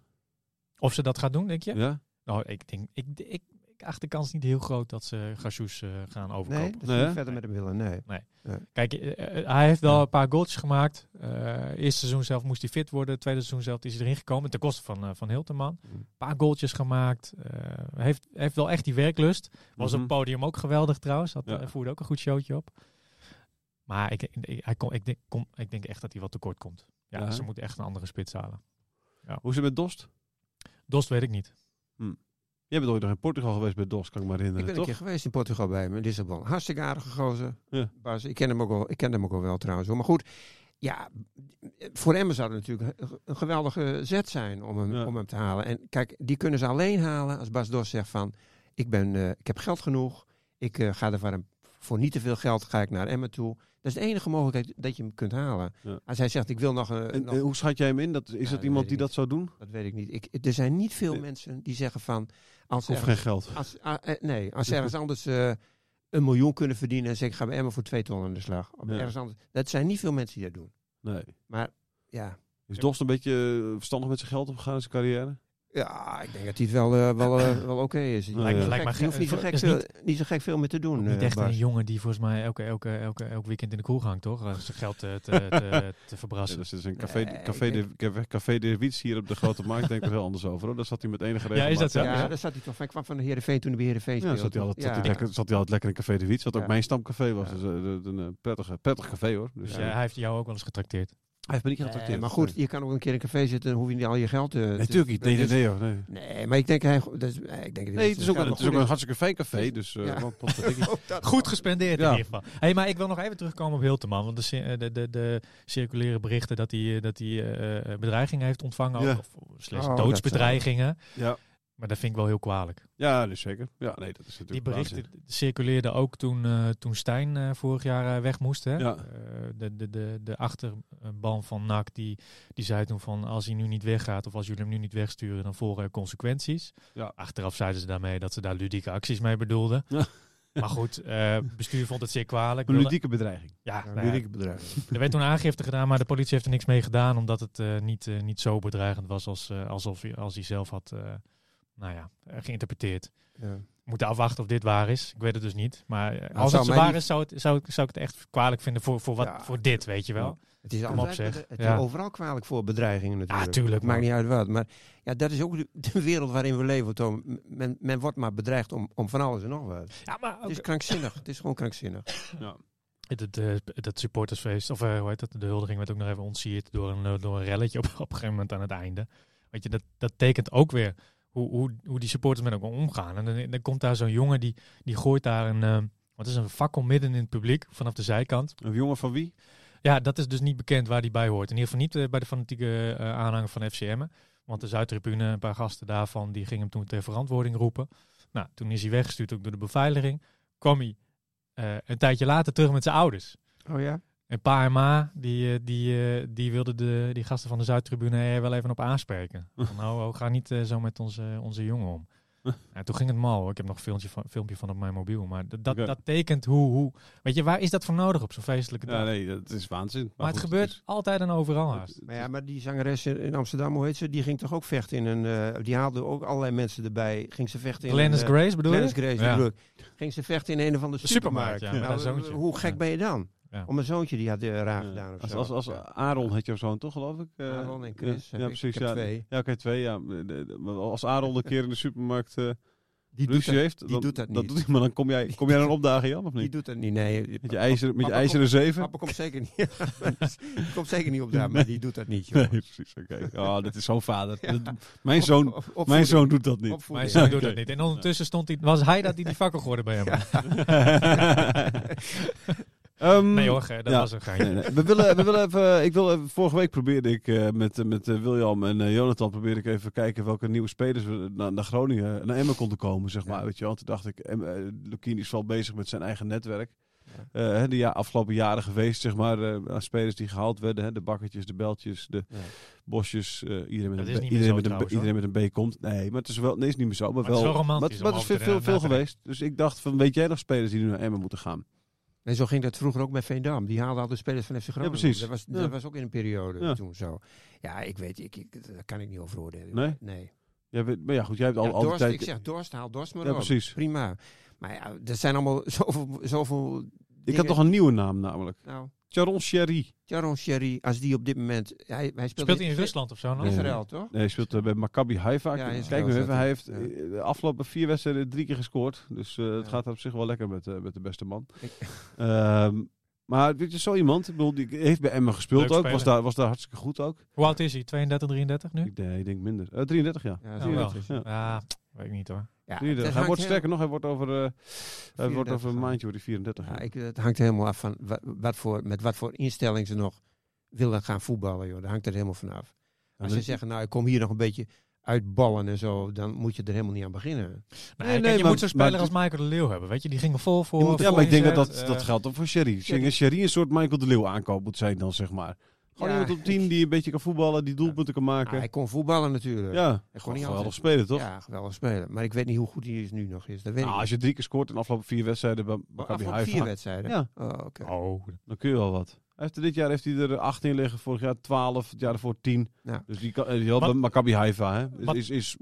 D: Of ze dat gaat doen, denk je?
C: Ja?
D: Nou, ik denk... Ik, ik, ik acht de kans niet heel groot dat ze Gassous gaan overkopen.
E: Nee, dat is
C: Nee,
E: niet
C: hè?
E: verder met hem willen, nee.
D: Kijk, eh, eh, hij heeft wel een paar goaltjes gemaakt. Eh eerste seizoen zelf moest hij fit worden. Tweede seizoen zelf is hij erin gekomen. Ten koste van, eh, van Hilterman.
C: Mhm.
E: Mm.
D: Een paar goaltjes gemaakt. Eh, heeft, heeft wel echt die werklust. Was
C: Mhm.
D: op het podium ook geweldig trouwens. Had,
C: Ja.
D: eh, voerde ook een goed showtje op. Maar ik, ik, hij kon, ik, denk, kom, ik denk echt dat hij wat tekort komt. Ja,
C: Ja, hè?
D: ze moeten echt een andere spits halen.
C: Hoe is het met Dost?
D: Dost weet ik niet.
C: Jij bent ooit nog in Portugal geweest bij DOS, kan ik me
E: Ik
C: herinneren,
E: ben een
C: toch?
E: keer geweest in Portugal bij hem, in Lissabon. Hartstikke aardige gozer.
C: Ja.
E: Bas, ik ken hem ook al, ik ken hem ook al wel trouwens. hoor. Maar goed, ja, voor Emmen zou het natuurlijk een- een geweldige zet zijn om hem,
C: Ja.
E: om hem te halen. En kijk, die kunnen ze alleen halen als Bas Dos zegt van, ik, ben, eh, ik heb geld genoeg. Ik eh, ga er voor, een- voor niet te veel geld ga ik naar Emmen toe. Dat is de enige mogelijkheid dat je hem kunt halen.
C: Ja.
E: Als hij zegt, ik wil nog... een.
C: En,
E: eh, nog
C: en hoe schat jij hem in? Dat, is
E: dat
C: dat
E: weet
C: iemand
E: ik
C: die
E: niet.
C: dat zou doen?
E: dat weet ik niet. Ik, er zijn niet veel
C: Nee.
E: mensen die zeggen van... Als
C: Of
E: er-
C: geen geld?
E: als, ah, eh, nee, als ze ergens
C: <laughs>
E: anders eh, een miljoen kunnen verdienen en zeggen, ik ga bij Emmen voor twee ton aan de slag. Of
C: Ja.
E: ergens anders. Dat zijn niet veel mensen die dat doen.
C: Nee.
E: Ja,
C: Is Dost een beetje eh, verstandig met zijn geld omgegaan in zijn carrière?
E: ja ik denk dat die het wel, eh, wel, eh, wel oké is. Je
C: Lijkt-
E: hoeft
D: lijkt me
E: gek- je hoeft niet zo
D: ge-
E: gek
D: is
E: veel-
D: niet-
E: niet zo gek veel meer te
C: Oh,
E: doen.
D: Niet
E: eh,
D: echt
E: Bas.
D: een jongen die volgens mij elke, elke, elke, elk weekend in de kroeg hangt, toch? Eh, Zijn geld
C: <laughs>
D: eh, te, te, te
C: Ja,
D: verbrassen.
C: dus het is een café,
E: Nee,
C: café,
E: ik
C: de, café de Wiets hier op de Grote Markt. Denk ik wel anders over. Hoor. Daar zat hij met enige regelmaat.
D: is dat zo?
E: Ja,
D: Ja.
E: daar zat hij toch. Hij kwam van de Heerenveen toen de Heerenveen
C: Ja,
E: speelde.
C: zat hij altijd, zat
E: Ja.
C: hij lekker, zat hij altijd lekker in Café de Wiets. Wat ook
E: Ja.
C: mijn stamcafé was.
E: Ja.
C: Dus, eh, de- de- een prettige, prettig café hoor. Dus,
D: Dus,
C: eh,
D: eh, hij heeft jou ook wel eens getrakteerd.
C: Hij heeft me niet
E: Nee,
C: getrakteerd.
E: maar goed, je kan ook een keer in een café zitten en hoef je niet al je geld eh, te...
C: Natuurlijk niet. Nee, nee, nee. hoor, Nee,
E: Nee, maar ik denk hij... Dat is, eh, ik denk dat
C: nee het is ook, een- het is ook een hartstikke fijn café.
E: is-
C: Dus eh,
E: ja.
C: wat, wat, wat,
E: <laughs>
D: Goed gespendeerd
C: Ja.
D: in ieder geval. Hey, maar ik wil nog even terugkomen op Hilteman. Want de, cir- eh, de, de, de circulaire berichten dat hij, eh, dat hij eh, bedreigingen heeft ontvangen.
C: Ja.
D: ook, Of, slechts
E: Oh, dat, eh,
D: doodsbedreigingen.
C: ja.
D: Maar dat vind ik wel heel kwalijk.
C: ja, dus zeker. Ja, nee, dat is natuurlijk
D: Die berichten circuleerden ook toen, eh, toen Stijn eh, vorig jaar eh, weg moest. Hè?
C: Ja.
D: Eh, de, de, de, de achterban van NAC die, die zei toen van als hij nu niet weggaat of als jullie hem nu niet wegsturen dan volgen er consequenties.
C: Ja.
D: Achteraf zeiden ze daarmee dat ze daar ludieke acties mee bedoelden.
C: Ja.
D: Maar goed, eh, bestuur vond het zeer kwalijk.
C: Een
D: Wilde-
C: ludieke bedreiging.
D: Ja, nou ja,
E: bedrijf.
D: er werd toen aangifte gedaan, maar de politie heeft er niks mee gedaan. Omdat het eh, niet, eh, niet zo bedreigend was als, eh, alsof hij, als hij zelf had eh, nou ja, eh, geïnterpreteerd.
E: Ja.
D: We moeten afwachten of dit waar is. Ik weet het dus niet. Maar eh,
E: het
D: als
E: Nou, zou
D: het zo
E: mij
D: waar
E: niet-
D: is, zou, het, zou, ik- zou ik het echt kwalijk vinden voor, voor, wat,
E: Ja.
D: voor dit, weet je wel.
E: Het is,
D: Kom op,
E: altijd,
D: zeg.
E: Het is
D: Ja.
E: overal kwalijk voor bedreigingen natuurlijk.
D: Ja, tuurlijk,
E: Maakt
D: man.
E: niet uit wat. Maar ja, dat is ook de, <laughs> de wereld waarin we leven, Tom. M- Men, men wordt maar bedreigd om, om van alles en nog wat.
D: Ja, maar
E: Het is krankzinnig. Het is gewoon
C: <laughs>
E: krankzinnig.
D: dat, eh, dat supportersfeest, of eh, hoe heet dat, de huldiging werd ook nog even ontsierd door een, eh, door een relletje op, <laughs> op een gegeven moment aan het einde. Weet je, dat, dat tekent ook weer hoe, hoe, hoe die supporters met elkaar omgaan. En dan, dan komt daar zo'n jongen die, die gooit daar een, eh, wat is het, een fakkel midden in het publiek vanaf de zijkant.
C: Een jongen van wie?
D: Ja, dat is dus niet bekend waar die bij hoort. In ieder geval niet eh, bij de fanatieke eh, aanhanger van FCM. Want de Zuidtribune, een paar gasten daarvan, die gingen hem toen ter verantwoording roepen. Nou, toen is hij weggestuurd ook door de beveiliging. Kwam hij eh, een tijdje later terug met zijn ouders.
E: Oh ja?
D: En pa en ma, die, eh, die, eh, die wilden de, die gasten van de Zuidtribune er wel even op
C: <laughs>
D: aanspreken. Van, nou, oh, ga niet eh, zo met onze, onze jongen om. En toen ging het mal. hoor. Ik heb nog een filmpje van, filmpje van op mijn mobiel. Maar dat, dat,
C: Oké.
D: dat tekent hoe, hoe... Weet je, waar is dat voor nodig op zo'n feestelijke dag?
C: Ja, nee, dat is waanzin. Maar,
D: maar het
C: goed, dus-
D: gebeurt
C: is-
D: altijd en overal haast.
E: Maar ja, maar die zangeres in in Amsterdam, hoe heet ze? Die ging toch ook vechten in een... eh, die haalde ook allerlei mensen erbij. Ging ze vechten in
D: Glennis
E: een... eh,
D: Grace bedoel
E: Glennis
D: je?
E: Grace, die
D: Ja.
E: bedoel ik. Ging ze vechten in een of andere
D: De
E: supermarkt.
D: supermarkt, ja, met haar
E: Nou,
D: zoontje.
E: hoe gek
D: Ja.
E: ben je dan?
D: Ja.
E: Om een zoontje die had eh, raar
C: Ja.
E: gedaan of
C: als,
E: zo.
C: als, als Aaron had jouw zoon toch, geloof ik? eh,
E: Aaron en Chris,
C: Ja,
E: heb
C: ja,
E: ik.
C: precies.
E: Ik heb
C: ja.
E: twee.
C: Ja, oké, twee. Ja. De- de- de- Als Aaron een keer in de supermarkt eh
E: die doet
C: ruzie
E: dat,
C: heeft,
E: die
C: dan,
E: doet dat niet.
C: doet hij, maar dan kom jij, kom jij dan opdagen, Jan, of
E: die
C: niet?
E: doet dat niet, nee.
C: Met je, ijzer, met je
E: Papa
C: ijzeren zeven?
E: Papa komt zeker niet, <laughs> Die komt zeker niet op daar, maar die doet dat niet, joh.
C: <laughs> Nee, precies. Oké. Oh, dat is zo'n vader.
E: Ja.
C: Dat- mijn, zoon,
E: Op- opvoeding.
C: mijn zoon doet dat niet.
D: Maar
E: Opvoeding.
D: zo
C: Ja,
D: doet
C: oké.
D: dat niet. En ondertussen stond hij, was hij dat die die fakkel gooide bij hem.
C: <laughs> Ehm,
D: Nee hoor, ge- dat
C: Ja.
D: was een geintje.
C: nee, nee. We willen, we willen even, ik wil even- vorige week probeerde ik eh, met, eh, met eh, William en eh, Jonathan probeerde ik even kijken welke nieuwe spelers we naar, naar Groningen, eh, naar Emmen konden komen, zeg maar. Weet je wel. Toen dacht ik, em, eh, Lukien is wel bezig met zijn eigen netwerk. Eh, hè, de ja, afgelopen jaren geweest, zeg maar, eh, aan spelers die gehaald werden. Hè, de bakkertjes, de beltjes, de
E: Ja.
C: bosjes. eh, iedereen met
D: Dat
C: een
D: is
C: B-
D: niet meer
C: iedereen met
D: zo
C: een B-
D: trouwens,
C: iedereen met een B komt. Nee, maar het is wel, nee, is niet meer zo. Maar,
D: het is wel romantisch
C: maar het-
D: om
C: maar het is
D: over
C: veel,
D: te eh,
C: veel,
D: na
C: veel
D: te
C: geweest. Dus ik dacht van, weet jij nog spelers die nu naar Emmen moeten gaan?
E: Nee, zo ging dat vroeger ook met Veendam. Die haalden al de spelers van FC Groningen. op.
C: precies.
E: Dat was,
C: Ja.
E: dat was ook in een periode
C: Ja.
E: toen zo. Ja, ik weet, ik, ik, daar kan ik niet over oordelen.
C: Nee?
E: Nee.
C: Ja, we- maar ja, goed, jij hebt al,
E: Ja,
C: al
E: Dorst,
C: die tijd...
E: ik zeg Dorst, haal Dorst maar
C: Ja,
E: op.
C: precies.
E: Prima. Maar ja, er zijn allemaal <laughs> zoveel... zoveel
C: Ik had nog een nieuwe naam namelijk.
E: Nou,
C: Charon Sherry.
E: Jaron Sherry, als die op dit moment... Hij, hij speelt,
D: Speelt hij in Rusland of zo?
E: in
D: Nou?
C: Nee.
E: Israël, toch?
C: Nee, hij speelt eh, bij Maccabi Haifa.
E: Ja, hij is
C: Kijk
E: wel
C: nu even,
E: zeker.
C: hij heeft
E: Ja.
C: eh, de afgelopen vier wedstrijden drie keer gescoord. Dus eh, het
E: Ja.
C: gaat op zich wel lekker met, eh, met de beste man.
E: Ik-
C: Ehm, maar weet je, zo iemand, ik bedoel, die heeft bij Emmen gespeeld
D: Leuk
C: ook.
D: speler.
C: Was daar, was daar hartstikke goed ook.
D: Hoe oud is hij? 32, 33 nu?
C: Ik, nee, ik denk minder. Eh, 33 jaar.
E: Ja,
D: Nou, wel.
E: is-
C: Ja.
D: Ja, weet ik niet hoor.
E: ja,
C: 33.
E: dat
C: Hij
E: hangt
C: wordt
E: heel-
C: sterker nog, hij wordt over, eh, hij wordt
E: 34
C: over een
E: dan.
C: maandje wordt hij 34.
E: Ja,
C: jaar.
E: ik, het hangt helemaal af van wat, wat voor, met wat voor instelling ze nog willen gaan voetballen. Joh. Daar hangt het helemaal van af.
C: En
E: Als ze
C: dan-
E: zeggen, nou, ik kom hier nog een beetje uitballen en zo, dan moet je er helemaal niet aan beginnen.
D: Nee,
C: nee,
D: kijk, je
C: maar-
D: moet zo'n
C: maar
D: speler als Michael de Leeuw hebben, weet je? Die gingen vol voor.
C: Je
E: oh,
C: moet- ja,
D: vol
C: maar ik denk dat
D: inzet,
C: dat,
D: eh,
C: dat geldt ook voor Sherry. Sherry. Sherry een soort Michael de Leeuw aankoop moet zijn dan, zeg maar. Gewoon
E: Ja,
C: iemand op 10 die een beetje kan voetballen, die doelpunten kan
E: Ah,
C: maken.
E: hij kon voetballen natuurlijk.
C: Ja,
E: niet
C: gewoon
E: altijd.
C: geweldig spelen, toch?
E: Ja, geweldig spelen. Maar ik weet niet hoe goed hij is nu nog is. Dat weet
C: Nou,
E: ik
C: als je drie keer scoort in de afgelopen vier wedstrijden bij
E: niet.
C: Maccabi
E: Afgelopen vier
C: Haifa,
E: wedstrijden?
C: Ja.
E: Oh, oké.
D: Oh,
C: dan kun je wel wat. Hij heeft er dit jaar heeft hij er acht in liggen, vorig jaar 12, het jaar ervoor 10.
E: Ja.
C: Dus die kan, eh, die had
D: Wat-
C: bij Maccabi Haifa hè.
D: Wat-
C: Is, is,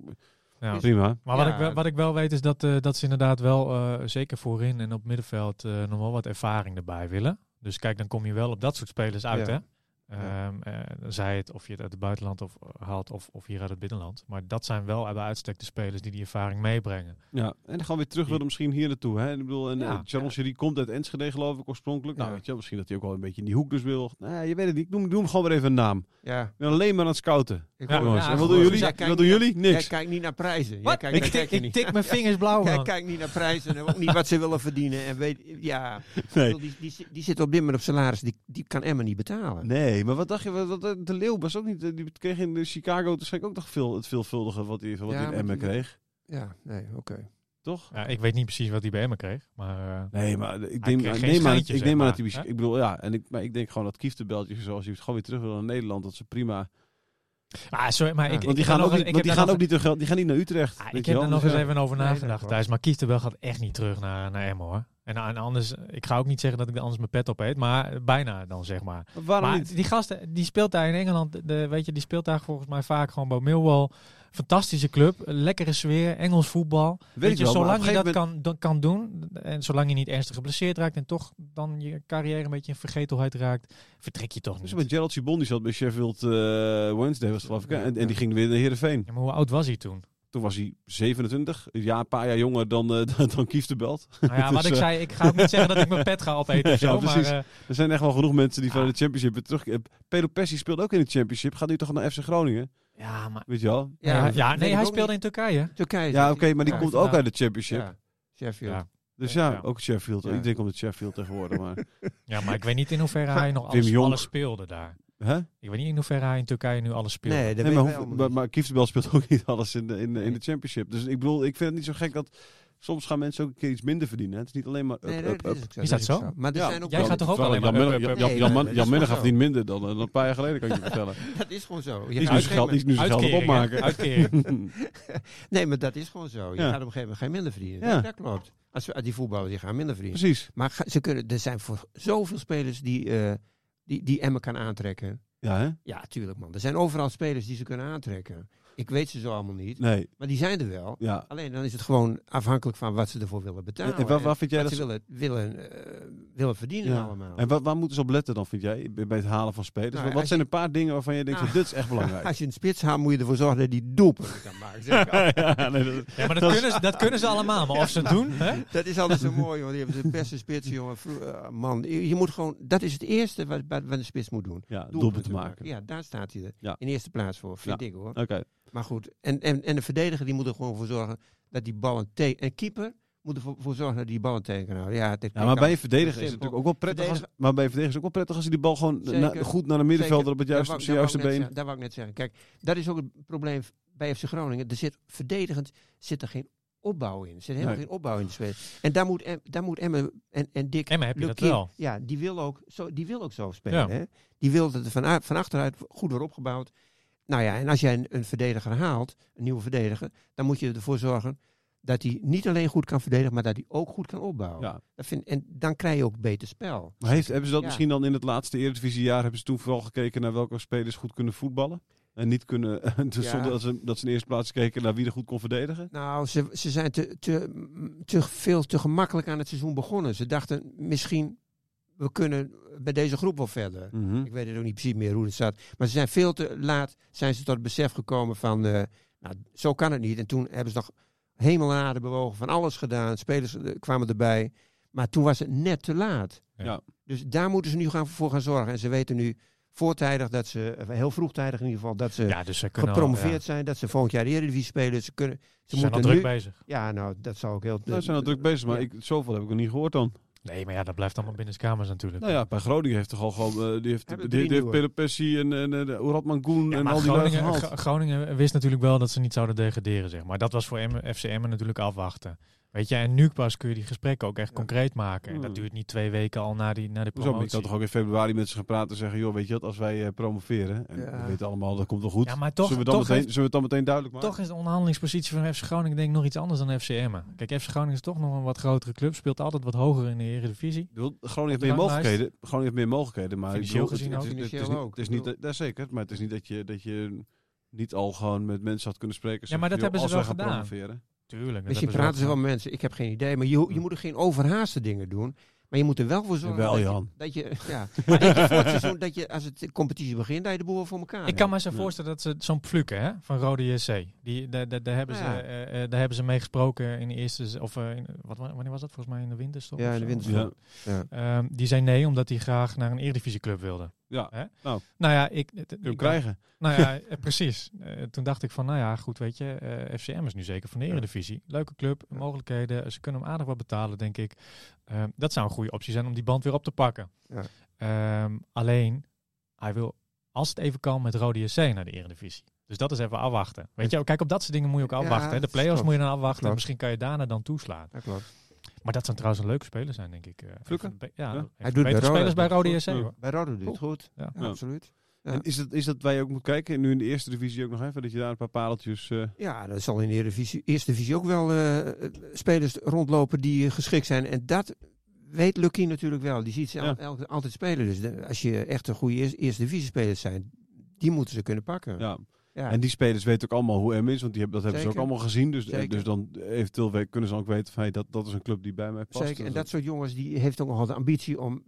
D: ja.
C: prima.
D: Maar wat,
E: Ja.
D: ik, wel- wat ik wel weet is dat, eh, dat ze inderdaad wel, eh, zeker voorin en op middenveld, eh, nog wel wat ervaring erbij willen. Dus kijk, dan kom je wel op dat soort spelers uit,
E: Ja.
D: hè? Ehm, eh, dan zij het of je het uit het buitenland of, haalt of, of hier uit het binnenland. Maar dat zijn wel bij uitstek de spelers die die ervaring meebrengen.
C: Ja. En dan gaan we weer terug willen misschien hier naartoe. Hè. Ik bedoel, en,
D: Ja.
C: eh, Sharon Sherry komt uit Enschede geloof ik oorspronkelijk. Nou,
E: Ja.
C: weet je, wel, misschien dat hij ook wel een beetje in die hoek dus wil. Nee, je weet het niet. Ik noem, ik noem gewoon weer even een naam.
E: Ja.
C: Ik ben alleen maar aan het scouten.
E: Ik
D: Ja,
E: hoor-
C: jongens.
D: ja,
C: en wat
D: goed.
C: doen jullie?
E: Jij
C: Wat
E: kijkt
C: doen
E: niet-
C: jullie?
E: Jij
C: Niks.
E: kijkt niet naar prijzen. Jij kijkt,
D: ik,
E: daar
D: tik,
E: kijk je
D: ik
E: niet.
D: tik
E: <laughs>
D: mijn vingers blauw,
E: Jij
D: man.
E: kijkt niet naar prijzen en ook niet wat ze willen verdienen. En weet, ja,
C: Nee.
E: Bedoel, Die, die, zit- die zit op dit moment op salaris, die, die kan Emma niet betalen.
C: Nee, maar wat dacht je? Wat, wat- de Leeuw was ook niet. eh, Die kreeg in eh, Chicago waarschijnlijk ook nog veel, het veelvuldige wat hij wat
E: Ja,
C: hij in
E: maar
C: Emmen
E: die-
C: kreeg.
E: Ja, nee, oké.
C: Toch?
D: Ja, ik weet niet precies wat hij bij me kreeg, maar... eh,
C: Nee, maar ik
D: kreeg
C: neem,
D: geen
C: ik neem aan,
D: schijntje,
C: ik
D: zeg
C: neem aan dat
D: maar,
C: hij.
D: hè?
C: Ik bedoel, ja, en ik, maar ik denk gewoon dat kieftenbeltjes, zoals je het gewoon weer terug wil naar Nederland, dat ze prima.
D: Ah, sorry, maar ik, ik
C: want die
D: ga
C: gaan
D: nog
C: ook
D: eens-
C: niet,
D: ik
C: want die
D: heb daar
C: gaan
D: nog-
C: ook niet, terug- die gaan niet naar Utrecht.
D: Ah,
C: weet
D: ik
C: je
D: heb
C: wel.
D: er nog
C: Dus
D: eens
C: ja.
D: even over
E: Nee, dat
D: nagedacht
E: klopt.
D: thuis. Maar Kieftenbel gaat echt niet terug naar, naar Emmen hoor. En, en anders, ik ga ook niet zeggen dat ik er anders mijn pet op eet. Maar bijna dan zeg maar.
C: Maar Waarom
D: Maar
C: niet?
D: die gasten, die speelt daar in Engeland. De, weet je, die speelt daar volgens mij vaak gewoon bij Millwall. Fantastische club, lekkere sfeer, Engels voetbal. Weet,
C: ik
D: je,
C: wel, maar op
D: zolang
C: een
D: je dat
C: gegeven
D: kan, dan kan doen en zolang je niet ernstig geblesseerd raakt en toch dan je carrière een beetje in vergetelheid raakt, vertrek je toch
C: moment-
D: niet.
C: Dus met Gerald Sibon, die zat bij Sheffield eh, Wednesday, was het, geloof ik. hè? En, en die ging weer naar Heerenveen.
D: Ja, maar hoe oud was hij
C: <laughs>
D: toen?
C: Toen was hij 27, een jaar, een paar jaar jonger dan, eh, <laughs> dan- dan Kieftenbelt.
D: Nou ja,
C: Dus,
D: wat ik
C: eh,
D: zei, ik ga ook niet zeggen dat ik mijn
C: <laughs>
D: pet ga opeten of
C: Ja,
D: zo, maar
C: precies.
D: eh,
C: Er zijn echt wel genoeg mensen die van
D: Ah.
C: de Championship weer terug. eh, Pedro Pessi speelt ook in de Championship. Gaat nu toch naar FC Groningen?
D: ja, maar
C: Weet je wel?
D: Ja,
E: dat weet
D: nee,
E: ik
D: hij
E: ook
D: speelde in Turkije.
E: niet. Turkije.
C: Ja,
E: zit
C: oké, maar die
E: Ja,
C: komt ook
D: inderdaad.
C: uit de Championship.
E: Ja, Sheffield.
D: Ja.
C: Dus ja,
D: Ja.
C: ook Sheffield.
E: Ja.
C: Ik denk om de Sheffield tegenwoordig. Maar.
D: Ja, maar ik weet niet in hoeverre hij nog
C: Wim
D: alles,
C: Jonk.
D: alles speelde daar.
C: Hè?
D: Ik weet niet in hoeverre hij in Turkije nu alles speelde.
E: Nee, dat
C: Nee,
E: weet
C: maar,
E: wij
C: hoef-
E: allemaal
C: maar,
E: niet.
C: maar Kieftenbel speelt ook niet alles in de, in, de- in de Championship. Dus ik bedoel, ik vind het niet zo gek dat soms gaan mensen ook een keer iets minder verdienen. hè. Het is niet alleen maar up,
E: Nee, nee,
C: up,
E: dat
C: up.
E: is ook zo.
D: Is dat
E: ook
D: zo?
E: Maar er
C: Ja.
E: zijn ook
D: Jij
E: wel-
D: gaat toch ook
C: Terwijl
D: alleen maar
C: Jan
D: up,
C: Minne-
D: up, up?
C: Jan-
E: Nee,
C: Jan-
E: dat
C: Jan-
E: is
C: Jan Minne
E: wel
C: gaf
E: zo.
C: niet minder dan, dan een paar jaar geleden, kan ik je vertellen.
E: Dat is gewoon zo. Je
C: Die is
E: gaat
C: nu
E: op
C: zijn geld, die
E: een
C: is nu zijn geld op
D: Uitkering, hè?
C: opmaken.
D: Uitkering.
E: Nee, maar dat is gewoon zo. Je
C: Ja.
E: gaat op een gegeven moment geen minder verdienen.
C: Ja.
E: Dat klopt. Als, we- die voetballers die gaan minder
C: <laughs>
E: verdienen.
C: Precies.
E: Maar ga- ze kunnen, er zijn voor zoveel spelers die, eh, die, die Emmen kan aantrekken.
C: Ja, hè?
E: Ja, tuurlijk man. Er zijn overal spelers die ze kunnen aantrekken. Ik weet ze zo allemaal niet.
C: Nee,
E: Maar die zijn er wel.
C: ja.
E: Alleen dan is het gewoon afhankelijk van wat ze ervoor willen betalen.
C: en waar, waar vind jij
E: Nou, wat
C: dat
E: ze
C: ze-
E: willen, willen, eh, willen verdienen
C: Ja.
E: allemaal.
C: En waar, waar moeten ze op letten dan, vind jij, bij bij het halen van spelers?
E: Nou,
C: Wat- wat
E: als
C: zijn een paar dingen waarvan je denkt,
E: Nou,
C: dit is echt belangrijk?
E: <laughs> Als je een spits haalt, moet je ervoor zorgen dat die doelpunten kan maken. Zeg ik
C: <laughs>
E: altijd.
C: ja, nee, dat-
D: Ja, maar dat kunnen, ze, dat kunnen ze allemaal. Maar of ze het doen, hè?
E: Dat is altijd zo mooi, jongen. Die hebben ze beste spits, jongen. Vro- eh, man, je je moet gewoon... Dat is het eerste wat, wat, wat een spits moet doen.
C: ja, doelpunt te maken.
E: Ja, daar staat hij er.
C: Ja.
E: In eerste plaats voor, vind ik hoor.
C: Oké,
E: Maar goed, en, en, en de verdediger die moet er gewoon voor zorgen dat die ballen tegen... En keeper moet ervoor voor zorgen dat die ballen tegen kan houden. Ja, dit
C: ja, maar bij je
E: kan-
C: verdediger is het
E: simpel.
C: natuurlijk ook wel prettig. Als,
E: Verdediger-
C: maar bij je verdediger is het ook wel prettig als hij die bal gewoon
E: Zeker.
C: na- goed naar de middenvelder
E: Zeker.
C: op het
E: Daar
C: juiste,
E: wou-
C: op zijn
E: daar wou
C: juiste
E: ik net
C: been.
E: zeggen, Daar wou ik net zeggen. Kijk, dat is ook het probleem bij FC Groningen. Er zit verdedigend zit er geen opbouw in. Er zit helemaal
C: Nee.
E: geen opbouw in de spelen. En daar moet, Em- daar moet Emmen en, en Dick
D: Emma, heb je dat
E: Lukien-
D: wel?
E: Ja, die wil ook zo, die wil ook zo spelen.
D: Ja.
E: Hè? Die wil dat er van, van achteruit goed wordt opgebouwd. Nou ja, en als jij een, een verdediger haalt, een nieuwe verdediger, dan moet je ervoor zorgen dat hij niet alleen goed kan verdedigen, maar dat hij ook goed kan opbouwen.
C: Ja.
E: Dat vind, en dan krijg je ook beter spel.
C: Maar heeft, hebben ze dat
E: Ja.
C: misschien dan in het laatste Eredivisiejaar, hebben ze toen vooral gekeken naar welke spelers goed kunnen voetballen? En niet kunnen, <laughs> dus
E: Ja.
C: zonder dat ze, dat ze in eerste plaats keken naar wie er goed kon verdedigen?
E: Nou, ze, ze zijn te, te, te veel te gemakkelijk aan het seizoen begonnen. Ze dachten misschien, we kunnen bij deze groep wel verder.
C: Mhm.
E: Ik weet het ook niet precies meer hoe het staat. Maar ze zijn veel te laat zijn ze tot het besef gekomen van, eh, nou, zo kan het niet. En toen hebben ze nog hemel en aarde bewogen, van alles gedaan. Spelers eh, kwamen erbij. Maar toen was het net te laat.
C: Ja.
E: Dus daar moeten ze nu gaan, voor gaan zorgen. En ze weten nu voortijdig dat ze, eh, heel vroegtijdig in ieder geval, dat ze
D: Ja, dus ze kunnen al-
E: gepromoveerd
D: ja.
E: zijn. Dat ze volgend jaar de Eredivisie spelen. Ze, kunnen,
D: Ze
E: ze
D: zijn al
E: moeten
D: druk
E: nu...
D: bezig.
E: Ja, nou, dat zou ook heel... Eh,
C: Nou, ze zijn al druk bezig, maar
E: ja.
C: ik, zoveel heb ik nog niet gehoord dan.
D: Nee, maar ja, dat blijft allemaal binnen de kamers natuurlijk.
C: Nou ja, bij Groningen heeft toch al gewoon, eh, die heeft, die,
E: Hebben
C: die
E: drie
C: heeft
E: nieuwe.
C: Pelopessi en, en eh, de Radman Koen
D: Ja,
C: en
D: maar
C: al die lui
D: Groningen,
C: gehaald.
D: Gro- Groningen wist natuurlijk wel dat ze niet zouden degraderen, zeg maar. Dat was voor Emmen- FC Emmen natuurlijk afwachten. Weet je, en nu pas kun je die gesprekken ook echt concreet maken. En dat
C: Hmm.
D: duurt niet twee weken al na die, na die
C: Hoezo? Maar ik
D: promotie.
C: had toch ook in februari met ze gaan praten en zeggen, joh, weet je wat, als wij eh, promoveren, en
E: Ja.
C: we weten allemaal, dat komt wel goed.
D: Ja, maar toch-
C: zullen, we dan
D: toch
C: meteen,
D: heeft-
C: zullen we het dan meteen duidelijk maken?
D: Toch is de onderhandelingspositie van FC Groningen denk ik nog iets anders dan FC Emmen. Kijk, FC Groningen is toch nog een wat grotere club. Speelt altijd wat hoger in de Eredivisie.
C: Ik bedoel, Groningen heeft
D: de
C: meer
D: ranglijst.
C: mogelijkheden. Groningen heeft meer mogelijkheden, maar
D: Financieel
C: ik bedoel,
D: gezien
C: het,
D: ook.
C: het, is- het, is
E: Financieel
C: niet,
E: ook.
C: het is niet, daar zeker, maar het is niet dat je, dat je niet al gewoon met mensen had kunnen spreken.
D: maar dat
C: zeggen,
D: hebben ze
C: joh, als
D: wel
C: wij gaan promoveren.
D: Tuurlijk. dat
E: Misschien
D: hebben
E: praten ze wel met mensen, ik heb geen idee. Maar je, ho- je moet er geen overhaaste dingen doen. Maar je moet er wel voor zorgen
C: Jawel,
E: dat,
C: Jan.
E: Je, dat je... <laughs> Ja, maar dat je voor het seizoen, dat je als het de competitie begint, dat je de boel voor elkaar
D: Ik
E: hebt.
D: kan me zo
C: Ja.
D: voorstellen dat ze zo'n Fluke hè, van Rode JC, die, daar, daar, daar hebben ze,
E: Ja.
D: eh, eh, daar hebben ze mee gesproken in de eerste, z- of eh, in, wat, wa- wanneer was dat? Volgens mij in de winterstop?
E: Ja,
D: of
E: in de
D: zo.
E: winterstop.
D: Ehm, die zei nee, omdat hij graag naar een Eredivisieclub wilde.
C: Ja,
D: Hè?
C: nou.
D: Nou ja, ik...
C: Kun
D: het-
C: je
D: ik-
C: hem krijgen.
D: Nou ja, eh, precies. Eh, toen dacht ik van, nou ja, goed, weet je, eh, FCM is nu zeker van de Eredivisie. Leuke club, mogelijkheden. Ze kunnen hem aardig wat betalen, denk ik. Ehm, dat zou een goede optie zijn om die band weer op te pakken.
E: Ja.
D: Ehm, alleen, hij wil, als het even kan, met Rode JC naar de Eredivisie. Dus dat is even afwachten. Weet je, kijk, op dat soort dingen moet je ook
E: Ja,
D: afwachten. hè. de
E: dat
D: play-offs
E: klopt.
D: moet je dan afwachten.
E: Klopt.
D: Misschien kan je daarna dan toeslaan.
E: Dat klopt.
D: Maar dat zou trouwens een leuke speler zijn, denk ik. eh, een
C: Fluke?
D: van de be- Ja,
C: Ja.
D: een
E: Hij
D: van de
E: doet
D: betere
E: bij Rode
D: spelers bij Rode JC,
C: Ja.
D: hoor.
E: Bij Rodo doet het goed.
D: Ja.
E: Ja,
C: Ja.
E: absoluut. Ja.
C: En is dat, is dat waar je ook moet kijken, nu in de eerste divisie ook nog even, dat je daar een paar pareltjes... eh,
E: Ja, er zal in de Eredivisie- Eerste Divisie ook wel eh, spelers rondlopen die eh, geschikt zijn. En dat weet Lucky natuurlijk wel. Die ziet ze al-
C: Ja.
E: elke- altijd spelen. Dus de- als je echt een goede eerste, eerste Divisie spelers zijn, die moeten ze kunnen pakken.
C: ja.
E: Ja.
C: En die spelers weten ook allemaal hoe M is, want die hebben, dat hebben ze
E: Zeker.
C: ook allemaal gezien. Dus,
E: Zeker.
C: dus dan eventueel we- kunnen ze ook weten van hey, dat, dat is een club die bij mij past. Dus
E: Zeker. En dat soort jongens die heeft ook nogal de ambitie om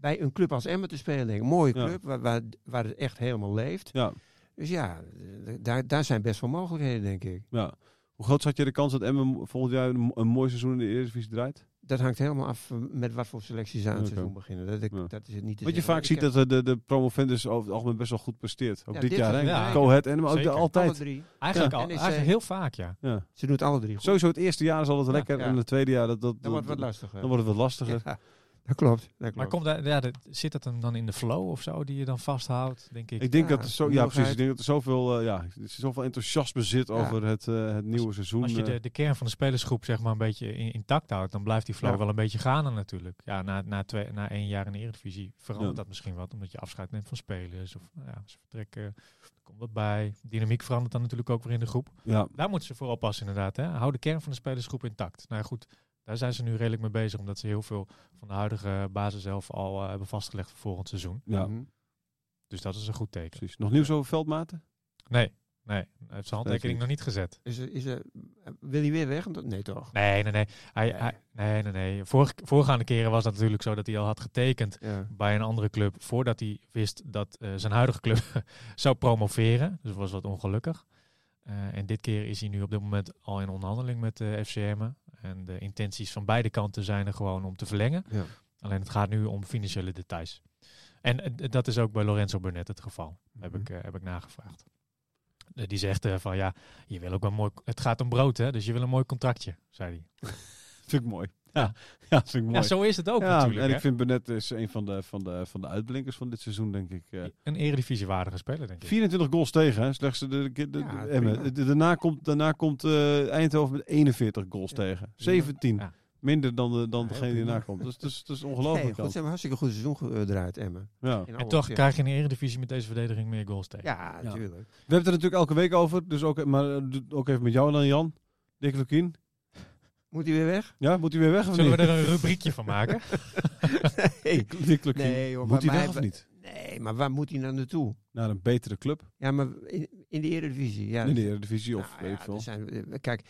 E: bij een club als Emmen te spelen. Een mooie
C: Ja.
E: club waar, waar, waar het echt helemaal leeft.
C: Ja.
E: Dus ja, eh, daar, daar zijn best wel mogelijkheden, denk ik.
C: ja. Hoe groot zat je de kans dat Emmen volgend jaar een, een mooi seizoen in de Eredivisie draait?
E: Dat hangt helemaal af eh, met wat voor selecties ze aan het
C: Oké.
E: seizoen beginnen. Dat, ik-
C: Ja.
E: dat is het niet te
C: Wat je
E: zeggen.
C: vaak
E: Ik
C: ziet
E: heb
C: dat eh, de, de promovendus over het algemeen best wel goed presteert. Ook
E: Ja,
C: dit,
E: dit
C: jaar,
E: is
C: hè?
E: het,
C: Ja.
E: ja.
C: Cohet en maar ook de,
D: Zeker.
E: alle
C: altijd.
E: drie.
D: Eigenlijk, al,
E: NEC.
D: eigenlijk heel vaak, ja.
C: Ja.
E: Ze doen het alle drie goed.
C: Sowieso het eerste jaar is altijd
E: Ja,
C: lekker
E: ja.
C: en het tweede jaar dat, dat,
E: Dan wordt het wat
C: dat-
E: lastiger.
C: dan wordt het wat lastiger.
E: Ja. <laughs> Dat klopt. Dat
D: Maar
E: klopt.
D: komt daar, ja, dat- zit dat hem dan in de flow of zo die je dan vasthoudt, denk ik?
C: Ik denk
E: Ja,
C: dat er zo, ja, precies. Ik
E: nieuwigheid.
C: denk dat er zoveel, eh, ja, er zoveel enthousiasme zit over het, eh, het nieuwe seizoen.
D: Als je
C: eh.
D: de, de kern van de spelersgroep zeg maar een beetje in- intact houdt, dan blijft die flow
E: Ja.
D: wel een beetje gaande natuurlijk. Ja, na, na, twee, na één jaar in de Eredivisie verandert
C: Ja.
D: dat misschien wat, omdat je afscheid neemt van spelers. Of nou ja, ze vertrekken, er komt wat bij. Dynamiek verandert dan natuurlijk ook weer in de groep.
C: ja,
D: Daar moeten ze voor oppassen inderdaad. Hè? Hou de kern van de spelersgroep intact. Nou ja, goed, daar zijn ze nu redelijk mee bezig, omdat ze heel veel van de huidige basis zelf al eh, hebben vastgelegd voor volgend seizoen.
C: ja,
E: Mhm.
D: Dus dat is een goed teken.
C: precies. Nog nieuws over veldmaten? <laughs>
D: Nee, nee, hij heeft zijn handtekening
C: niet.
D: nog niet gezet.
E: Is er, is er, wil hij weer weg? Nee, toch?
D: Nee, nee, nee. Hij,
E: Nee.
D: hij- nee, nee, nee. Vorig- voorgaande keren was dat natuurlijk zo dat hij al had getekend
E: Ja.
D: bij een andere club voordat hij wist dat eh, zijn huidige club <laughs> zou promoveren. Dus was wat ongelukkig. Eh, en dit keer is hij nu op dit moment al in onderhandeling met eh, de FCM. En de intenties van beide kanten zijn er gewoon om te verlengen.
E: Ja.
D: Alleen het gaat nu om financiële details. En eh, dat is ook bij Lorenzo Burnett het geval. Heb,
E: Mhm.
D: ik, eh, heb ik nagevraagd. Eh, die zegt eh, van ja, je wil ook wel mooi. Het gaat om brood, hè? Dus je wil een mooi contractje, zei hij.
C: Vind ik mooi. Ja, ja vind ik mooi.
D: Ja, zo is het ook
C: Ja,
D: natuurlijk.
C: en
D: hè.
C: ik vind Benet is een van de, van, de, van de uitblinkers van dit seizoen, denk ik. eh.
D: Een eredivisiewaardige speler, denk ik.
C: 24 goals tegen, hè? slechts de, de, de- de-
E: Ja,
C: Emmen.
E: prima.
C: De- daarna komt, daarna komt eh, Eindhoven met 41 goals tegen. 17.
D: Ja.
C: Minder dan, de, dan
E: Ja,
C: degene die
E: prima.
C: daarna komt. Dus,
E: <laughs>
C: dus, dus
E: Nee,
C: ongelooflijk.
E: goed, ze hebben een hartstikke goed seizoen eh, gedraaid, Emmen.
C: ja.
D: En
E: In alle
D: toch
E: opzichten.
D: krijg je in de eredivisie met deze verdediging meer goals tegen.
E: Ja,
C: Ja.
E: natuurlijk.
C: We hebben het er natuurlijk elke week over. Dus ook, maar eh, doe- ook even met jou dan, Jan. Dick Lukien.
E: Moet hij weer
C: <laughs>
E: weg?
C: Ja, moet hij weer weg of
D: Zullen
C: niet?
D: we er een rubriekje van
C: <laughs>
D: maken?
E: Nee,
C: Dick Lukien.
E: nee hoor,
C: moet hij
E: maar
C: weg of
E: hij-
C: niet?
E: nee, maar waar moet hij nou naartoe?
C: Naar een betere club
E: Ja, maar in, in de Eredivisie. Ja,
C: in de Eredivisie of
E: Nou
C: weet
E: ja,
C: ik veel.
E: er zijn, eh, kijk,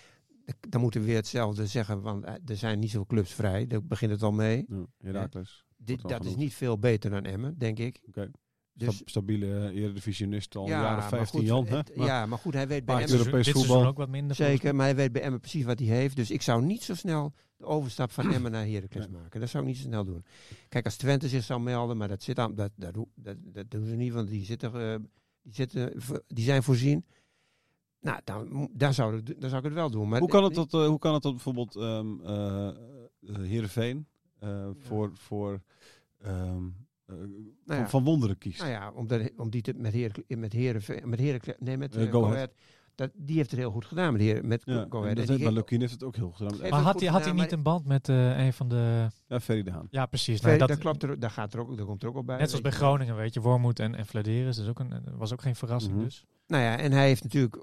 E: d- dan moeten we weer hetzelfde zeggen, want eh, er zijn niet zoveel clubs vrij. Daar begint het al mee.
C: Ja, Heracles.
E: Dit,
C: al
E: dat is
C: genoemd.
E: niet veel beter dan Emmen, denk ik.
C: Oké.
E: Dus,
C: Stab- stabiele eh, eredivisionist al
E: ja,
C: jaren
E: maar
C: 15
E: goed,
C: Jan. Hè?
E: het-
C: Maar-
E: ja, maar goed, hij weet bij
C: Maar
E: Emmen
C: Europees
D: dit seizoen
C: voetbal.
D: ook wat minder. volgens
E: zeker, maar hij weet bij Emmen precies wat hij heeft. Dus ik zou niet zo snel de overstap van Emmen naar Heracles maken. Dat zou ik niet zo snel doen. Kijk, als Twente zich zou melden, maar dat, zit aan, dat, dat, hoe- dat, dat doen ze niet, want die, zitten, eh, die, zitten, vo- die zijn voorzien. Nou, dan, mo- daar, zou ik, dan zou ik het wel doen. Maar
C: Hoe kan het dat, eh, hoe kan het dat bijvoorbeeld ehm eh, eh, Heerenveen eh, voor, voor ehm, eh,
E: Nou ja.
C: Van Wonderen kiest?
E: Nou ja, om, dat- om die te, met Heer, met Heeren, met Heeren, nee, met
C: Eh,
E: eh,
C: Go
E: Go
C: Ahead.
E: Ahead, Dat, die heeft het heel goed gedaan met Heer, met
C: Ja,
E: Go
C: en
E: Ahead.
C: dat
E: En
C: heeft,
E: die
C: maar
E: ging-
C: Lukien heeft het ook heel goed gedaan. Ah,
E: Heeft-
D: Maar
E: het
D: had
E: goed
D: hij, had hij
E: gedaan,
D: niet een band met eh, een van de...
C: Ja, Ferry de Haan.
D: Ja, precies.
E: Ver-
D: Nou,
E: dat,
D: dat,
E: klopt er, daar, gaat er ook, daar komt er ook op bij.
D: net zoals bij
E: weet je.
D: Groningen, weet je. Wormoed en, en Vladeris. Dat is ook een, was ook geen verrassing
C: Mhm.
D: dus.
E: Nou ja, en hij heeft natuurlijk...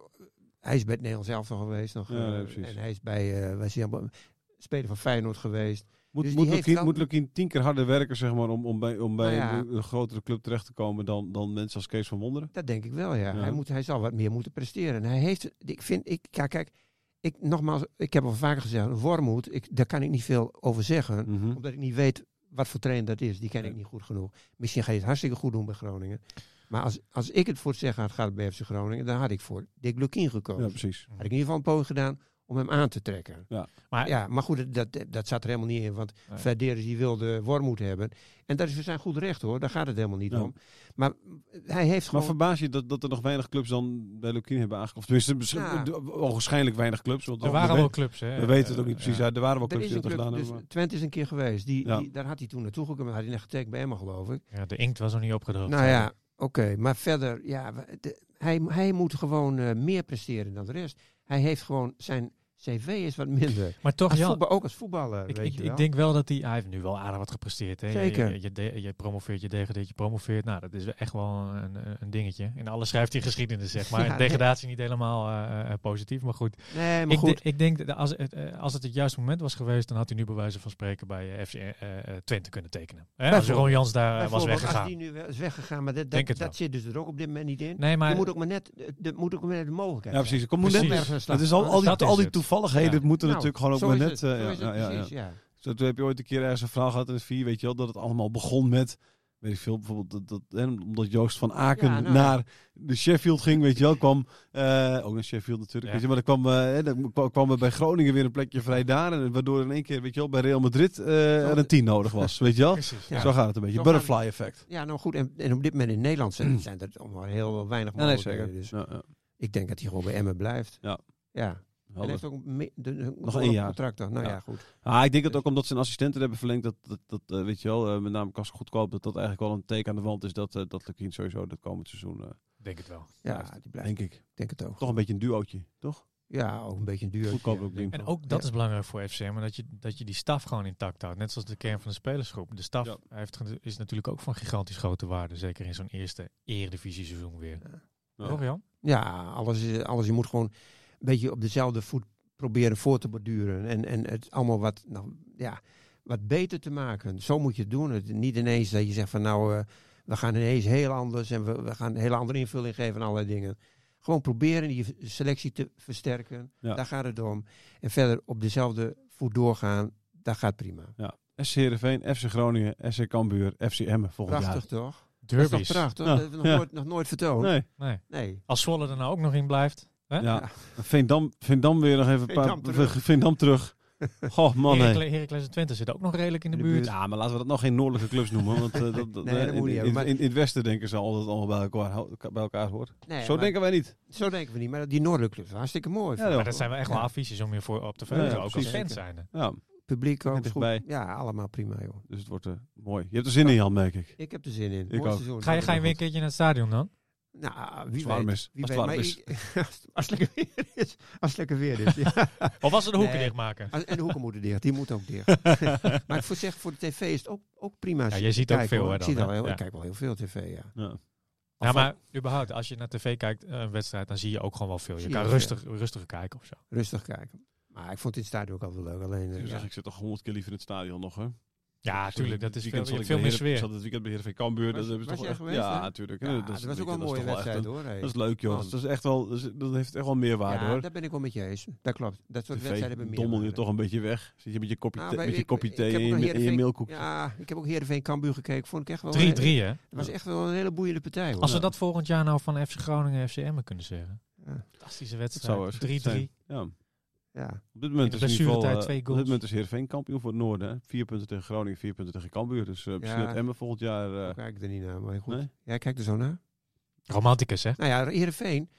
E: Hij is bij het Nederlands elftal geweest. Nog,
C: Ja, nee,
E: eh,
C: precies.
E: en hij is bij, eh was hij allemaal, speler van Feyenoord geweest.
C: Moet,
E: Dus die
C: moet,
E: heeft
C: Lukien,
E: wel-
C: moet Lukien tien keer harder werken zeg maar, om, om bij, om bij
E: Nou ja.
C: een, een grotere club terecht te komen dan, dan mensen als Kees van Wonderen?
E: Dat denk ik wel, ja.
C: Ja.
E: Hij, moet, hij zal wat meer moeten presteren. En hij heeft... Ik vind... Ik, ja, kijk, ik, nogmaals, ik heb al vaker gezegd, Wormoed, ik, daar kan ik niet veel over zeggen.
C: Mhm.
E: Omdat ik niet weet wat voor trainer dat is. Die ken ik
C: Ja.
E: niet goed genoeg. Misschien ga je het hartstikke goed doen bij Groningen. Maar als, als ik het voor het zeggen had gehad bij FC Groningen, dan had ik voor Dick Lukien gekozen.
C: Ja, precies.
E: had ik in ieder geval een poging gedaan om hem aan te trekken.
D: Maar
E: Ja, maar goed, dat, dat zat er helemaal niet in. Want
D: Nee.
E: Verderes die wilde Wormoed hebben. En dat is voor zijn goed recht hoor. Daar gaat het helemaal niet
C: Ja.
E: om. Maar hij heeft
C: Maar
E: gewoon...
C: verbaas je dat, dat er nog weinig clubs dan bij Lukien hebben aangekomen? Of tenminste,
E: Ja.
C: waarschijnlijk weinig clubs. Want
D: er
C: we
D: waren
C: we-
D: wel clubs, hè.
C: We weten het ook
D: Eh,
C: niet precies.
D: ja.
C: Ja, er waren wel
E: er
C: clubs
E: is
C: die
E: een
C: dat gedaan
E: club, dus
C: hebben. maar-
E: Twente is een keer geweest. Die,
C: Ja.
E: die, daar had hij toen naartoe gekomen. Had hij net getekend bij Emma, geloof ik.
D: Ja, de inkt was nog niet opgedroogd.
E: Nou ja, oké. Maar verder, ja, we- de- hij, hij moet gewoon eh, meer presteren dan de rest. Hij heeft gewoon, zijn cv is wat minder.
D: Maar toch,
E: Als
D: Jan,
E: voetbal, ook als voetballer,
D: Ik,
E: weet
D: ik,
E: je
D: ik
E: wel.
D: denk wel dat hij... Hij heeft nu wel aardig wat gepresteerd. Hè? Je-
E: Zeker.
D: Je, je, de- je promoveert, je degradeert, je promoveert. Nou, dat is echt wel een, een- een dingetje. En alles schrijft hij geschiedenis, zeg maar.
E: Ja,
D: En degradatie niet helemaal eh, eh, positief, maar goed.
E: nee, maar
D: Ik,
E: goed.
D: de- ik denk, dat als het, eh, als het het juiste moment was geweest... dan had hij nu bij wijze van spreken bij eh, FC eh, eh, Twente kunnen tekenen. Hè? Als
E: Bijvoorbeeld.
D: Ron Jans daar eh, was
E: Bijvoorbeeld,
D: weggegaan.
E: Als die nu wel is weggegaan, maar dat,
D: Denk
E: dat,
D: het
E: dat,
D: wel.
E: zit dus er ook op dit moment niet in.
D: Nee, maar
E: er moet ook maar net, er moet ook maar net de mogelijkheid
C: Ja, precies. Er komt
E: zijn.
C: net
D: Precies.
E: ergens aan
C: Dat
E: slagen.
C: is al, al die,
D: Dat is
C: al die
D: het.
C: toevalligheden
D: Ja.
C: moeten
E: Nou,
C: natuurlijk gewoon ook
E: zo
C: maar
E: is
C: net.
E: het,
C: eh,
E: zo
C: ja,
E: is het
C: ja, ja, ja.
E: precies, ja.
C: Zo, toen heb je ooit een keer ergens een verhaal gehad in het vier, weet je wel, dat het allemaal begon met, weet ik veel, bijvoorbeeld dat, dat, hè, omdat Joost van Aken
E: Ja, nou.
C: naar de Sheffield ging, weet je wel, kwam, eh, ook naar Sheffield natuurlijk,
D: Ja.
C: weet je, maar dan kwam, eh, hè, dan kwam- kwam er bij Groningen weer een plekje vrij daar, en waardoor in één keer, weet je wel, bij Real Madrid eh, er een tien nodig was, weet je wel.
D: Precies.
E: Ja.
C: Zo gaat het een beetje,
E: Zo
C: butterfly effect.
E: Ja, nou goed. En, en op dit moment in Nederland zijn, zijn er allemaal heel weinig
C: Mm. Ja, nee,
E: mogelijkheden.
C: zeker.
E: Dus
C: Ja, ja.
E: ik denk dat hij gewoon bij Emmen blijft.
C: Ja.
E: ja. Hij
C: Helder.
E: heeft ook me- de, de-
C: Nog één jaar.
E: contract. dan. Nou
C: Ja.
E: ja, goed.
C: Ah, ik denk dat ook omdat zijn assistenten hebben verlengd, dat, dat, dat eh, weet je wel, eh, met name Kas goedkoop, dat dat eigenlijk wel een teken aan de wand is dat, eh dat Lukien sowieso dat komend seizoen, eh,
D: Denk het wel.
E: Ja, die blijft.
C: denk ik,
E: Ik denk het ook.
C: toch een beetje een duootje, toch?
E: Ja, ook een beetje een duur.
C: Goedkoop ook ding.
D: En ook dat
E: Ja.
D: is belangrijk voor FCM, maar dat je, dat je die staf gewoon intact houdt. Net zoals de kern van de spelersgroep. De staf
C: Ja.
D: heeft, is natuurlijk ook van gigantisch grote waarde. Zeker in zo'n eerste eredivisie seizoen weer.
C: Ja.
D: Toch Jan?
E: Ja, alles, is- alles. Je moet gewoon een beetje op dezelfde voet proberen voor te borduren. En, en het allemaal wat, nou, ja, wat beter te maken. Zo moet je het doen. Het, niet ineens dat je zegt van nou, eh, we gaan ineens heel anders en we, we gaan een hele andere invulling geven aan allerlei dingen. Gewoon proberen je selectie te versterken.
C: Ja.
E: Daar gaat het om. En verder op dezelfde voet doorgaan. Dat gaat prima.
C: SC Heerenveen, FC Groningen, SC Cambuur, FC Emmen volgend
E: Prachtig toch? Dat is toch
D: Derbies.
E: prachtig?
C: Ja.
E: Dat hebben we
C: Ja.
E: nog, nooit, nog nooit vertoond.
C: jaar.
E: Nee.
C: Nee,
D: Nee. Als Zwolle er nou ook nog in blijft. Hè?
C: ja. Veendam, Veendam weer nog even een paar...
E: Veendam terug.
C: <laughs> Veendam terug. Goh, man hé.
D: Heracles, Heracles en Twente zitten ook nog redelijk in de,
E: In de
D: buurt. Ah,
C: Ja, maar laten we dat nog geen noordelijke clubs noemen. Want eh, dat, <laughs> dat,
E: Nee,
C: eh,
E: dat moet
C: in,
E: niet
C: in,
E: hebben, maar-
C: in- in het westen denken ze al dat het allemaal bij elkaar, bij elkaar hoort.
E: Nee,
C: Zo
E: maar-
C: denken wij niet.
E: Zo denken we niet, maar die noordelijke clubs, hartstikke mooi.
C: Ja,
D: Maar dat zijn wel echt wel
E: Ja.
D: affiches om je voor op te verheugen.
C: Ja, ja,
D: ook als
C: precies.
D: fans
E: Zeker.
D: zijn.
C: Ja,
E: Publiek ook
C: Lekker
E: goed.
C: dichtbij.
E: Ja, allemaal prima, joh.
C: dus het wordt eh, mooi. Je hebt er zin in, Jan, merk ik.
E: Ik heb er zin in.
C: Ik
E: Mooi
C: ook.
E: seizoen.
D: Ga je, ga je weer een keertje naar het stadion dan?
E: Nou, wie
C: het warm
E: weet.
C: is.
E: Wie
C: Als het
E: weet.
C: warm
E: maar
C: is.
E: ik- <laughs> als het lekker weer is. Als het lekker weer is.
C: <laughs>
E: Ja.
D: Of was het de hoeken
E: Nee.
D: dichtmaken?
E: Als- En de hoeken moeten dicht. Die moeten
C: <laughs>
E: ook dicht. maar ik voor zeg, voor de tv is het ook, ook prima.
D: Ja, jij ziet ook
E: Kijk,
D: veel,
E: hoor.
D: hè,
E: Ik,
D: dan,
E: zie
D: hè?
E: wel heel-
D: Ja.
E: ik kijk wel heel veel tv, ja.
C: Ja.
D: Ja,
E: Of-
D: maar überhaupt, als je naar tv kijkt, eh, een wedstrijd, dan zie je ook gewoon wel veel. Je
E: Zie je
D: kan
E: ook
D: rustig, rustiger kijken of zo.
E: Rustig kijken. Maar ik vond dit stadion ook al wel leuk. Alleen, eh,
C: Dus Ik
E: ja.
C: zeg, ik zit toch honderd keer liever in het stadion nog, hè?
D: Ja,
C: Sorry,
D: tuurlijk. Dat
C: dit
D: is
C: weekend zat
D: veel, je hebt
C: ik bij
D: veel meer
C: Heeren- Ik
D: sfeer.
C: zat het weekend bij Heerenveen Cambuur.
E: Was-
C: dat hebben ze
E: was
C: toch
E: jij
C: echt-
E: geweest,
C: Ja,
E: hè?
C: natuurlijk.
E: Ja, dat was ook wel een
C: dat is
E: mooie
C: toch echt
E: wedstrijd,
C: een-
E: hoor. hè.
C: Dat is leuk, joh.
E: Want-
C: Dat, is echt wel, dat is- dat heeft echt wel meerwaarde,
E: Ja,
C: hoor.
E: daar ben ik wel met je eens. Dat klopt. Dat soort wedstrijden hebben
C: TV
E: meer
C: dommel je
E: waarde.
C: toch een beetje weg. Zit je met je kopje,
E: Ah,
C: thee-
E: maar
C: met je
E: ik-
C: kopje
E: ik
C: thee en
E: heb ook
C: je,
E: nog
C: en je
E: Heerenveen-
C: meelkoekje.
E: Ja, ik heb ook Heerenveen Cambuur gekeken. Vond ik echt wel...
D: 3-3, hè?
E: Het was echt wel een hele boeiende partij. Hoor.
D: Oh, eh, Als we dat volgend jaar nou van FC Groningen en FC Emmen kunnen zeggen.
E: Ja.
D: Fantastische
C: Dat zou
D: wedstrijd.
C: eens
D: 3-3.
C: goed zijn. Ja.
E: Ja.
C: Op dit moment
D: In
C: is
D: de
C: in ieder geval,
D: blessuretijd
C: eh,
D: twee
C: op dit
D: goals.
C: moment is Heerenveen kampioen voor het noorden. Hè? Vier punten tegen Groningen, vier punten tegen Cambuur. Dus eh misschien
E: Ja.
C: dat Emmen volgend jaar... eh,
E: Daar kijk ik er niet naar, maar goed.
C: nee?
E: Jij kijkt er zo naar.
D: Romanticus, hè?
E: Nou ja, Heerenveen,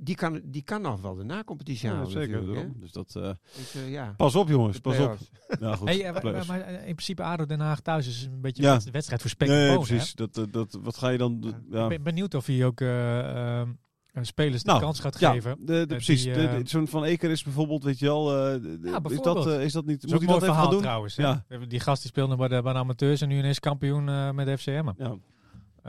E: die kan, die kan nog wel de na-competitie
C: Ja,
E: halen
C: zeker.
E: natuurlijk, hè?
C: daarom. Dus dat, eh,
E: Dus, eh, ja.
C: pas op jongens,
E: De
C: pas op.
E: play-offs.
C: Nou goed,
D: Hey, eh, maar,
C: play-offs.
D: maar- maar in principe ADO Den Haag thuis is een beetje
C: Ja.
D: een wed- wedstrijd voor spek en
C: nee,
D: bonen, hè?
C: precies. Dat, eh, dat, dat, wat ga je dan...
E: Ja.
C: Ja.
D: Ik ben benieuwd of hij ook eh, ehm, een spelers de
C: Nou,
D: kans gaat
C: Ja,
D: geven.
C: de, de-
D: die,
C: precies. De- de-
D: eh,
C: Zo'n Van Eker is bijvoorbeeld, weet je wel... eh, de- de- is, dat,
D: bijvoorbeeld.
C: eh, is dat niet...
D: Dat is
C: Moet
D: ook
C: hij
D: een mooi
C: dat even gaan
D: verhaal
C: doen?
D: trouwens. hè?
C: Ja.
D: Die gast die speelde bij de, bij de amateurs en nu ineens kampioen eh, met FCM.
C: Ja. En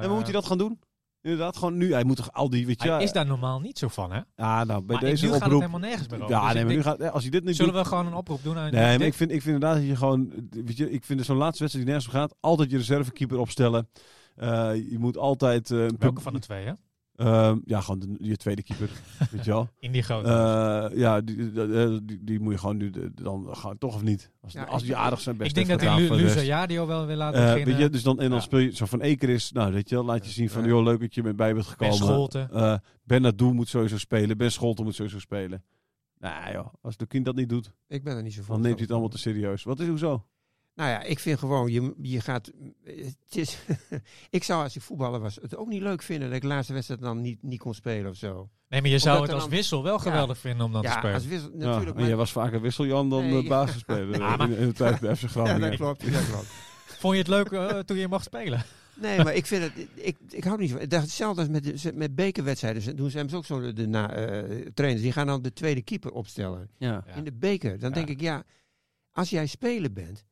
C: hoe moet hij dat gaan doen? Inderdaad, gewoon nu. Hij moet toch al die... Weet je,
D: Eh, Hij is daar normaal niet zo van, hè?
C: Ja, nou, bij
D: Maar
C: deze
D: nu gaat het
C: oproep...
D: helemaal nergens meer over.
C: ja,
D: Dus
C: nee,
D: ik
C: maar nu
D: denk,
C: gaat, eh, als hij dit niet
D: Zullen
C: doet...
D: we gewoon een oproep doen aan
C: Nee, maar
D: Dick?
C: ik vind, ik vind inderdaad dat je gewoon... Weet je, ik vind het zo'n laatste wedstrijd die nergens om gaat... altijd je reservekeeper opstellen. Eh, je moet altijd... eh, een
D: Welke
C: pub-
D: van de twee, hè?
C: Ehm, ja, gewoon de- je tweede keeper,
D: <laughs>
C: weet je wel.
D: In die grote.
C: Eh, ja, die, die, die- die, die moet je gewoon nu de- dan gewoon, toch of niet. Als,
E: Ja,
C: als
E: ik-
C: die aardig zijn best
D: ik denk dat
C: heeft
D: hij
C: gedaan
D: Lu
C: voor de
D: Luza
C: rest.
D: Jadio wel wil laten
C: Eh,
D: beginnen.
C: weet je, dus dan, en dan
D: Ja.
C: speel je zo van Eker is, nou weet je wel, laat je zien van,
E: Ja.
C: joh, leuk dat je met bij bent
D: ben
C: gekomen.
D: Scholten.
C: Eh ben Nadoe moet sowieso spelen, Ben Scholten moet sowieso spelen. Nou joh, als de kind dat niet doet,
E: Ik ben er niet zo van.
C: dan neemt hij het allemaal te serieus. Wat is hoezo?
E: Nou ja, ik vind gewoon, je, je gaat... Het is, <laughs> ik zou als ik voetballer was het ook niet leuk vinden dat ik de laatste wedstrijd dan niet, niet kon spelen of zo.
D: Nee, maar je
E: Omdat
D: zou het
E: er
D: als
E: dan-
D: wissel wel geweldig vinden om dan te
E: ja,
D: spelen.
E: als wissel,
C: Ja,
E: natuurlijk.
C: en jij
E: maar-
C: was vaker wisseljan dan
E: Nee.
C: eh, basisspeler
E: <laughs> Ja, maar-
C: in, in de tijd bij FC
E: ja,
C: Groningen.
E: dat klopt. Dat klopt.
D: Vond je het leuk eh, toen je mocht spelen?
E: Nee, Ah, maar ik vind het. Ik, ik hou er niet van. Dat is Hetzelfde als met, de- ze- met bekerwedstrijden. Ze- Doen ze hebben ze ook zo de na, eh, trainers. Die gaan dan de tweede keeper opstellen.
C: ja.
D: Ja.
E: In de beker. Dan
D: Ja.
E: denk ik, ja, als jij speler bent,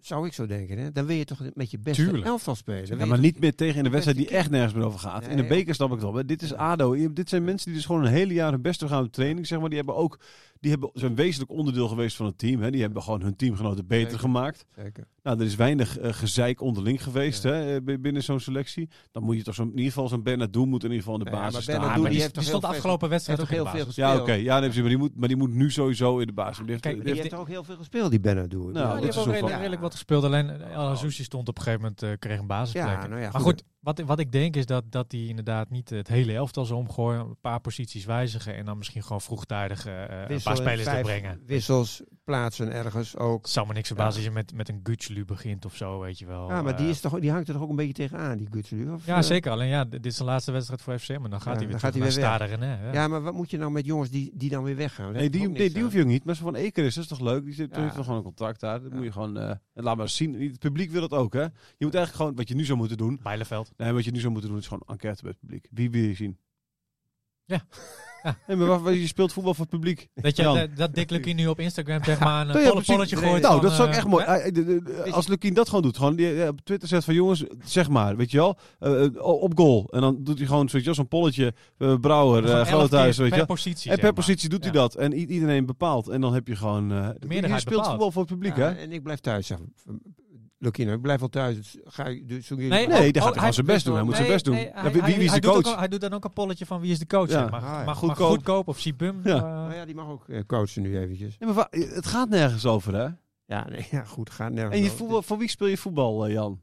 E: zou ik zo denken, hè, dan wil je toch met je beste
D: Tuurlijk.
E: elftal spelen. Dan
C: Ja,
E: wil
C: maar
E: je
C: niet meer tegen in de wedstrijd die
E: beste
C: echt nergens meer over gaat. In de
E: Nee.
C: beker snap ik het wel. Maar dit is ADO. Je- Dit zijn mensen die dus gewoon een hele jaar hun best doen gaan op training. Zeg maar. Die hebben ook, die hebben, zijn wezenlijk onderdeel geweest van het team. Hè. Die hebben gewoon hun teamgenoten beter
E: Zeker.
C: gemaakt.
E: toch- Zeker.
C: Nou, er is weinig eh, gezeik onderling geweest
E: Ja.
C: hè, eh, b- binnen zo'n selectie. Dan moet je toch zo'n, in ieder geval zo'n Bernardo moet in ieder geval in de
E: Ja,
C: basis
E: maar
C: staan.
E: Bernardo,
C: Maar
E: die
C: die-
E: heeft
D: Die
E: toch
D: stond de
E: heel
D: afgelopen
E: Hij heeft
D: wedstrijd
E: toch
D: ook in
E: heel
D: de
E: veel
D: basis.
E: gespeeld.
C: ja, oké. Ja, nee, precies, maar, die moet, maar die moet nu sowieso in de basis. Die heeft-
D: Kijk,
C: die
E: Die
C: heeft-
E: heeft toch ook heel veel gespeeld, die Benadou.
C: Nou, dat
D: Ja, die
C: is
D: hebben
C: ook
D: redelijk,
E: wel-
D: redelijk wat gespeeld. Alleen El Azouzi stond op een gegeven moment, eh, kreeg een basisplek.
E: Ja, nou
D: maar
E: ja, goed.
D: goed, Wat, wat ik denk is dat, dat die inderdaad niet het hele elftal zal omgooien. Een paar posities wijzigen en dan misschien gewoon vroegtijdig eh, een paar
E: Wisselen,
D: spelers
E: vijf
D: brengen.
E: Wissels plaatsen ergens ook.
D: Het zou me niks verbazen als je met, met een Gutschlu begint of zo, weet je wel.
E: Ja, maar
D: Eh,
E: die, is toch, die hangt er toch ook een beetje tegenaan, die Gutselu? of,
D: Ja,
E: eh?
D: zeker. Alleen ja, d- dit is de laatste wedstrijd voor FCM. En dan gaat
E: Ja,
D: hij weer
E: dan gaat
D: terug
E: hij
D: naar
E: weer
D: Stade René. Ja.
E: Ja, maar wat moet je nou met jongens die, die dan weer weggaan?
C: Nee, die, nee, die hoef je ook niet. Maar zo van Eker is, dat is toch leuk? Die zit,
E: Ja.
C: heeft toch gewoon een contract daar. Dat
E: Ja.
C: moet je gewoon... eh, en laat maar zien. Het publiek wil dat ook, hè? Je moet eigenlijk gewoon... Wat je nu zou moeten doen...
D: Bijleveld.
C: Nee, wat je nu zou moeten doen is gewoon enquête bij het publiek. Wie wil je zien?
D: Ja. Ja.
C: <laughs> Nee, maar wacht, je speelt voetbal voor het publiek.
D: Dat, je,
C: Jan.
D: dat, dat Dick Lukien nu op
C: <laughs>
D: Instagram zeg maar een
C: Nou ja,
D: volle
C: precies.
D: polletje
E: Nee,
D: gooit.
C: Nou,
D: van,
C: dat zou ik
D: eh,
C: echt mooi.
D: hè?
C: eh, eh, de- de- Als Lukien dat gewoon doet, gewoon die, eh, op Twitter zegt van jongens, zeg maar, weet je wel, eh, eh, op goal. En dan doet hij gewoon zoiets als een polletje, eh, Brouwer,
D: Gewoon
C: eh
D: elf
C: Groothuis,
D: keer
C: weet je
D: Eh, per
C: wel.
D: positie.
C: En
D: zeg
C: per
D: maar.
C: positie doet hij
D: Ja.
C: dat. En i- iedereen bepaalt. En dan heb je gewoon... eh, je
D: meerderheid
C: speelt
D: bepaalt.
C: voetbal voor het publiek, hè?
E: En ik blijf thuis, zeg. Lukino, ik blijf wel thuis. Dus ga je, dus zoek je-
C: Nee,
D: Nee, oh,
C: die gaat
D: oh,
C: hij gewoon zijn best doen. Hij moet zijn
D: nee,
C: best doen.
D: nee,
C: Ja,
D: hij-
C: wie- wie
D: hij-
C: is
D: hij
C: de
D: doet ook
C: coach?
D: al- Hij doet dan ook een polletje van wie is de coach.
C: Ja.
D: Zeg maar.
E: Ah, ja.
D: maar
C: Goedkoop.
D: goedkoop. goedkoop of Sibum.
C: Ja.
D: eh,
E: Nou ja, die mag ook eh, coachen nu eventjes.
C: Nee, maar wa- het gaat nergens over, hè?
E: Ja, nee, <laughs> ja goed, gaat nergens
C: En je
E: over.
C: voetbal, voor wie speel je voetbal, eh, Jan?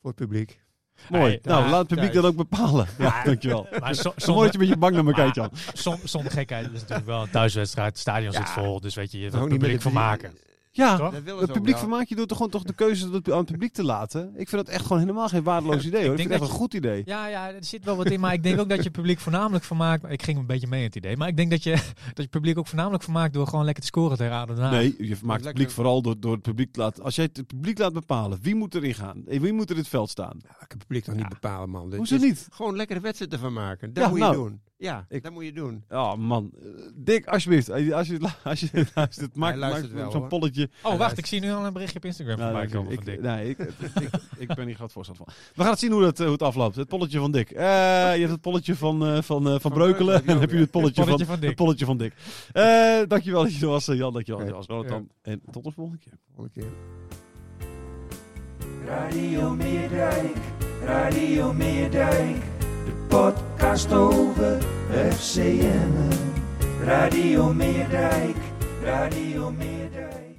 E: Voor het publiek.
C: Mooi.
D: Hey,
C: nou,
D: ja,
C: laat het publiek
E: thuis.
C: dat ook bepalen. Ja, dankjewel. <laughs>
D: Maar zo-
C: Zo mooi dat
D: zonder,
C: je met je bang naar me kijkt,
D: <laughs>
C: Jan.
D: som- zonder gekheid. Het is natuurlijk wel een thuiswedstrijd. Het stadion zit
E: Ja.
D: vol. Dus weet je, je
E: Hou
D: wil het
E: niet met
D: publiek
E: het-
D: vermaken.
C: Ja,
D: Toch?
E: Dat willen ze
C: Het
E: ook
C: publiek
E: wel.
C: vermaakt je door toch gewoon toch de keuze dat aan het publiek te laten. Ik vind dat echt gewoon helemaal geen waardeloos idee hoor. Ik, vind
D: denk
C: het echt
D: dat
C: een goed idee.
D: Ja, ja, er zit wel wat in. Maar ik denk ook dat je publiek voornamelijk vermaakt. Ik ging een beetje mee in het idee. Maar ik denk dat je, <laughs> dat je publiek ook voornamelijk vermaakt door gewoon lekker te scoren tegen Aden Den Haag.
C: Nee, je maakt het
E: Lekker.
C: publiek vooral door, door het publiek te laten. Als jij het publiek laat bepalen, wie moet erin gaan? En Wie moet er in het veld staan?
E: Nou, ik kan het publiek toch niet bepalen, man. Dit
C: Hoezo
E: is
C: niet?
E: Gewoon lekkere wedstrijden van maken. Dat
C: Ja,
E: moet
C: nou.
E: je doen. Ja,
C: Ik-
E: dat moet je doen.
C: Oh man, Eh, Dick, alsjeblieft. Als je, als je, het lu- <laughs> als je het luistert, maak, maak
E: luistert wel,
C: zo'n
E: hoor.
C: polletje.
D: Oh, wacht.
E: luister.
D: Ik zie nu al een berichtje op Instagram
C: Nou,
D: voorbij
C: dank je.
D: komen van
C: ik,
D: Dick.
C: nee, ik, ik, ik ben hier groot voorstander van. We gaan het zien hoe, dat, eh, hoe het afloopt. Het polletje van Dick. Eh, je hebt het polletje van, eh, van, eh, van,
E: Breukelen
C: Breukelen.
E: heb
C: En
E: je
C: dan
E: ook,
C: heb je
E: ja.
C: het polletje,
D: Polletje
C: van,
D: van Dick.
C: het polletje van Dick. Eh, dankjewel dat je er was, eh, Jan. Dankjewel dat je er was. Jonathan. En tot de volgende keer.
E: Volgende keer.
B: Radio Meerdijk, Radio Meerdijk, de podcast over FCM. Radio Meerdijk, Radio Meerdijk.